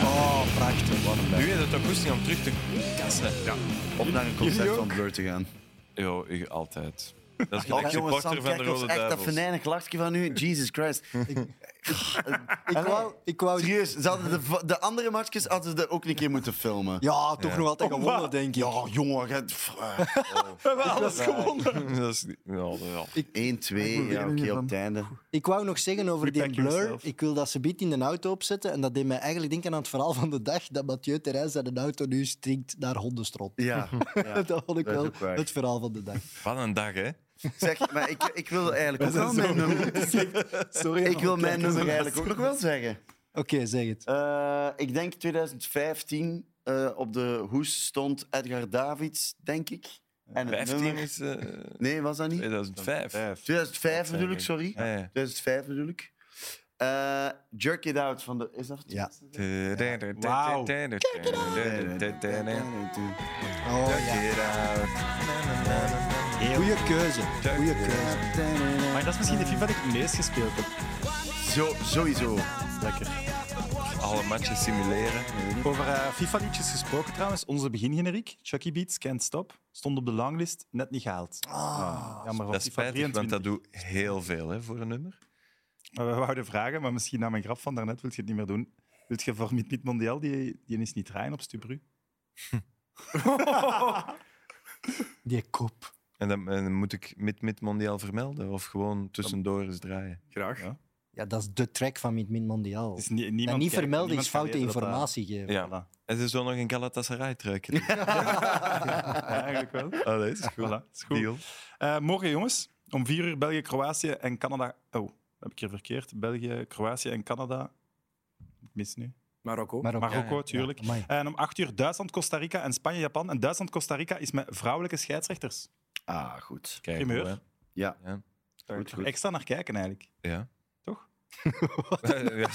S2: Oh, prachtig.
S4: Nu is het ook goesting om terug te kassen. Ja.
S5: Om naar een concert van Blur te gaan.
S4: Jo, ik altijd. Dat is
S5: Oh,
S4: gelijk
S5: jongens,
S4: supporter
S5: Sam,
S4: van
S5: kijk
S4: de
S5: ons
S4: Rode
S5: echt dat
S4: Duivels.
S5: venijnig lachje van u. Jesus Christ.
S2: Ik wou... Ik wou
S5: Serieus, ze hadden de, v- de andere matchjes hadden ze ook een keer moeten filmen.
S2: Ja, toch nog altijd gewonnen, denk ik.
S5: Ja, jongen. Je... ah.
S2: We hebben alles gewonnen.
S4: Dat is niet- ja, ja.
S5: 1, 2, ja, oké, op het einde.
S2: Ik wou nog zeggen over die
S5: Protect
S2: blur.
S5: yourself.
S2: Ik wil dat ze biedt in de auto opzetten. En dat deed mij eigenlijk denken aan het verhaal van de dag dat Mathieu Terrein zijn auto nu stinkt naar hondenstrot.
S5: Ja, ja.
S2: dat vond ik
S5: Dat is
S2: wel
S5: ook waar.
S2: het verhaal van de dag.
S4: Wat een dag, hè?
S5: Zeg, maar ik, ik wil eigenlijk ook
S2: zijn
S5: wel mijn
S2: zo
S5: nummer...
S2: Sorry,
S5: ik wil
S2: maar
S5: mijn
S2: kijk,
S5: nummer
S2: dat is-
S5: eigenlijk ook nog wel zeggen.
S2: Oké, zeg het.
S5: Eh, ik denk 2015 eh, op de hoes stond Edgar Davids, denk ik. En het
S4: 15
S5: nummer...
S4: is eh,
S5: Nee, was dat niet?
S4: 2005.
S5: 2005 bedoel ik,
S4: denk ik.
S5: sorry.
S4: Ja, ja.
S5: 2005 bedoel ik. Eh, Jerk It Out van de... Is dat het?
S2: Ja.
S1: Wauw.
S2: Oh, ja. Goeie keuze. Goeie keuze.
S1: Maar dat is misschien de FIFA die ik het meest gespeeld heb.
S5: Zo, sowieso.
S1: Lekker.
S4: Alle matches simuleren.
S1: Over eh, FIFA-liedjes gesproken trouwens. Onze begingeneriek, Chucky Beats, Can't Stop, stond op de longlist, net niet gehaald. Ah, jammer,
S4: Dat
S1: want
S4: is
S1: FIFA
S4: spijtig, want
S1: 23.
S4: dat doet heel veel hè, voor een nummer.
S1: Maar we wouden vragen, maar misschien na mijn grap van daarnet wil je het niet meer doen. Wilt je voor Meet Meet Mondial die, die is niet draaien op Stubru?
S2: Die kop.
S4: En dan, en dan moet ik mid-mid mondiaal vermelden of gewoon tussendoor eens draaien.
S6: Graag.
S2: Ja, dat is de track van Meet Min Mondiaal.
S1: Dus nie- niemand
S2: en niet
S1: kijkt,
S2: vermelden
S1: niemand
S2: is foute
S1: kan weten dat
S2: informatie geven.
S4: Ja. Het is zo nog een Galatasaray-truikje.
S1: dat- Ja, eigenlijk wel.
S4: Oh, dat is goed.
S1: Voilà, is goed.
S4: Deal.
S1: Eh, morgen, jongens, om vier uur België, Kroatië en Canada. Oh, dat heb ik hier verkeerd. België, Kroatië en Canada. Ik mis nu.
S6: Marokko.
S2: Maar ook,
S1: Marokko, tuurlijk.
S2: amai.
S1: en om acht uur Duitsland, Costa Rica en Spanje, Japan. En Duitsland, Costa Rica is met vrouwelijke scheidsrechters.
S5: Ah, goed.
S4: Kijk,
S1: Primeur.
S4: hoor.
S5: Ja.
S4: Ja.
S1: Daar
S5: Goed,
S1: moet ik
S5: goed.
S1: extra naar kijken, eigenlijk.
S4: ja.
S1: Toch?
S4: Ja, ja.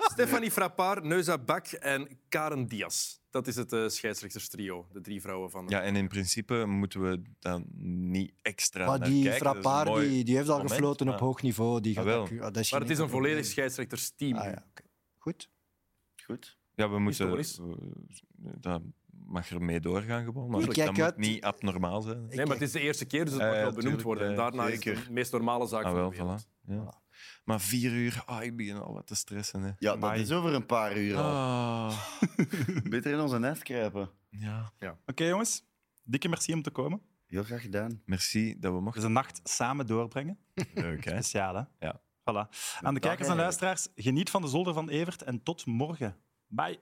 S6: Stephanie Frappard, Neuza Bak en Karen Diaz. Dat is het eh scheidsrechterstrio, de drie vrouwen van...
S4: Ja, en in principe moeten we dan niet extra
S2: Maar
S4: naar
S2: die
S4: kijken. Dat is een
S2: Frappard,
S4: mooi
S2: die, die heeft al
S4: moment,
S2: gefloten op
S4: maar-
S2: hoog niveau. Die
S4: Ah,
S2: gaat
S4: wel.
S2: ook- ah, dat is
S6: Maar het is een
S2: geen
S6: volledig
S2: enkel
S6: scheidsrechtersteam.
S2: probleem. Ah, ja, oké. Goed.
S5: Goed.
S4: Ja, we moeten...
S6: Historisch.
S4: eh, dat mag er mee doorgaan gewoon, maar
S2: Ik
S4: dat
S2: kijk
S4: moet
S2: uit-
S4: niet abnormaal zijn.
S6: Nee, maar het is de eerste keer, dus het
S4: Ja,
S6: mag
S4: ja,
S6: wel benoemd
S4: tuurlijk,
S6: worden. En
S4: eh,
S6: daarna is het
S4: zeker.
S6: de meest normale
S4: Ah,
S6: zaak van de
S4: wel,
S6: wereld.
S4: voilà. Ja. Maar vier uur, ah, ik begin al wat te stressen. Hè.
S5: Ja, dat
S1: Amai.
S5: is over een paar uur al.
S4: Ah,
S5: Beter in onze nest kruipen.
S4: ja.
S1: Oké, jongens. Dikke merci om te komen.
S5: Heel graag gedaan.
S4: Merci dat we
S1: Dus
S4: mochten.
S1: een nacht samen doorbrengen.
S4: Leuk, hè?
S1: Speciaal, hè?
S4: Ja.
S1: Voilà. Aan de kijkers en
S5: eigenlijk.
S1: luisteraars, geniet van de zolder van Evert en tot morgen. Bye.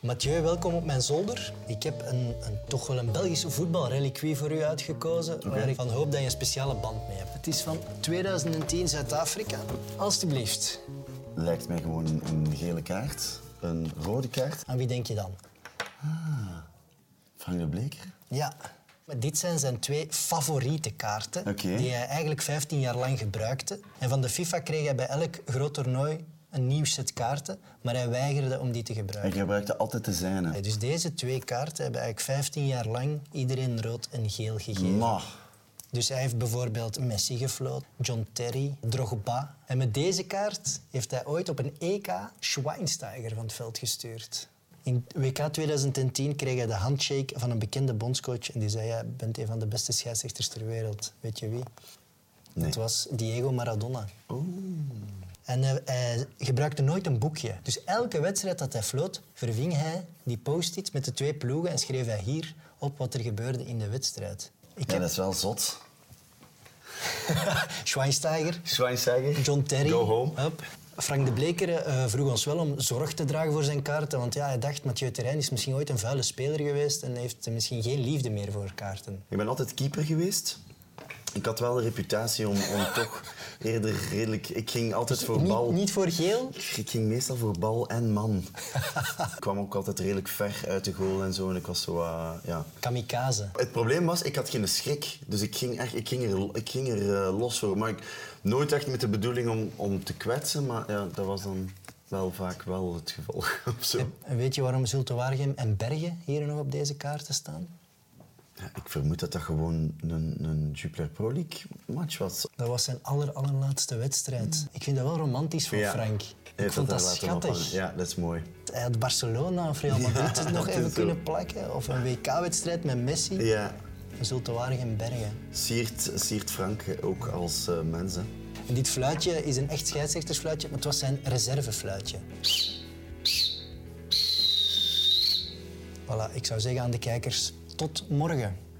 S2: Mathieu, welkom op mijn zolder. Ik heb een, een, toch wel een Belgische voetbalreliquie voor u uitgekozen, waar ik van hoop dat je een speciale band mee hebt. Het is van 2010 Zuid-Afrika. Alsjeblieft.
S5: Lijkt mij gewoon een, een gele kaart, een rode kaart.
S2: Aan wie denk je dan?
S5: Frank de Bleker.
S2: Ja, maar dit zijn zijn twee favoriete kaarten
S5: Oké.
S2: die hij eigenlijk 15 jaar lang gebruikte. En van de FIFA kreeg hij bij elk groot toernooi een nieuw set kaarten, maar hij weigerde om die te gebruiken.
S5: Hij gebruikte altijd de zijne.
S2: Hey, Dus deze twee kaarten hebben eigenlijk 15 jaar lang iedereen rood en geel gegeven.
S5: Maar,
S2: Dus hij heeft bijvoorbeeld Messi gefloten, John Terry, Drogba. En met deze kaart heeft hij ooit op een EK Schweinsteiger van het veld gestuurd. In WK 2010 kreeg hij de handshake van een bekende bondscoach en die zei: Jij bent een van de beste scheidsrechters ter wereld. Weet je wie?
S5: Nee. Oh.
S2: Dat was Diego Maradona. En hij, hij gebruikte nooit een boekje. Dus elke wedstrijd dat hij floot, verving hij die post-its met de twee ploegen en schreef hij hier op wat er gebeurde in de wedstrijd. Ik
S5: ja,
S2: heb
S5: dat is wel zot.
S2: Schweinsteiger,
S5: Schweinsteiger.
S2: John Terry.
S5: Go home.
S2: Hup. Frank de Bleker eh, vroeg ons wel om zorg te dragen voor zijn kaarten. Want ja, hij dacht, Mathieu Terrein is misschien ooit een vuile speler geweest en heeft er misschien geen liefde meer voor kaarten.
S5: Ik ben altijd keeper geweest. Ik had wel de reputatie om, om toch eerder redelijk... Ik ging altijd voor
S2: Dus Niet-
S5: bal.
S2: niet voor geel?
S5: Ik, ik ging meestal voor bal en man. ik kwam ook altijd redelijk ver uit de goal en zo. En ik was zo... eh, ja.
S2: Kamikaze.
S5: Het probleem was, ik had geen schrik. Dus ik ging, echt, ik ging er, ik ging er eh, los voor. Maar ik, nooit echt met de bedoeling om, om te kwetsen. Maar ja, dat was dan wel vaak wel het geval. of zo.
S2: En weet je waarom Zulte Waregem en Bergen hier nog op deze kaarten staan?
S5: Ik vermoed dat dat gewoon een, een Jupiler Pro League match was.
S2: Dat was zijn aller, allerlaatste wedstrijd. Ik vind dat wel romantisch van
S5: Hmm. Ja.
S2: Frank.
S5: Heeft
S2: Ik vond dat
S5: daar laten ophangen.
S2: schattig.
S5: Ja, dat is mooi.
S2: Hij had Barcelona of Real Madrid
S5: Ja,
S2: nog
S5: dat
S2: even
S5: is zo.
S2: kunnen plakken. Of een WK-wedstrijd met Messi.
S5: Ja.
S2: Zulte Waregem Bergen.
S5: Siert, Siert Frank ook als eh mens. Hè.
S2: En dit fluitje is een echt scheidsrechtersfluitje, maar het was zijn reservefluitje. Voilà, ik zou zeggen aan de kijkers, tot morgen.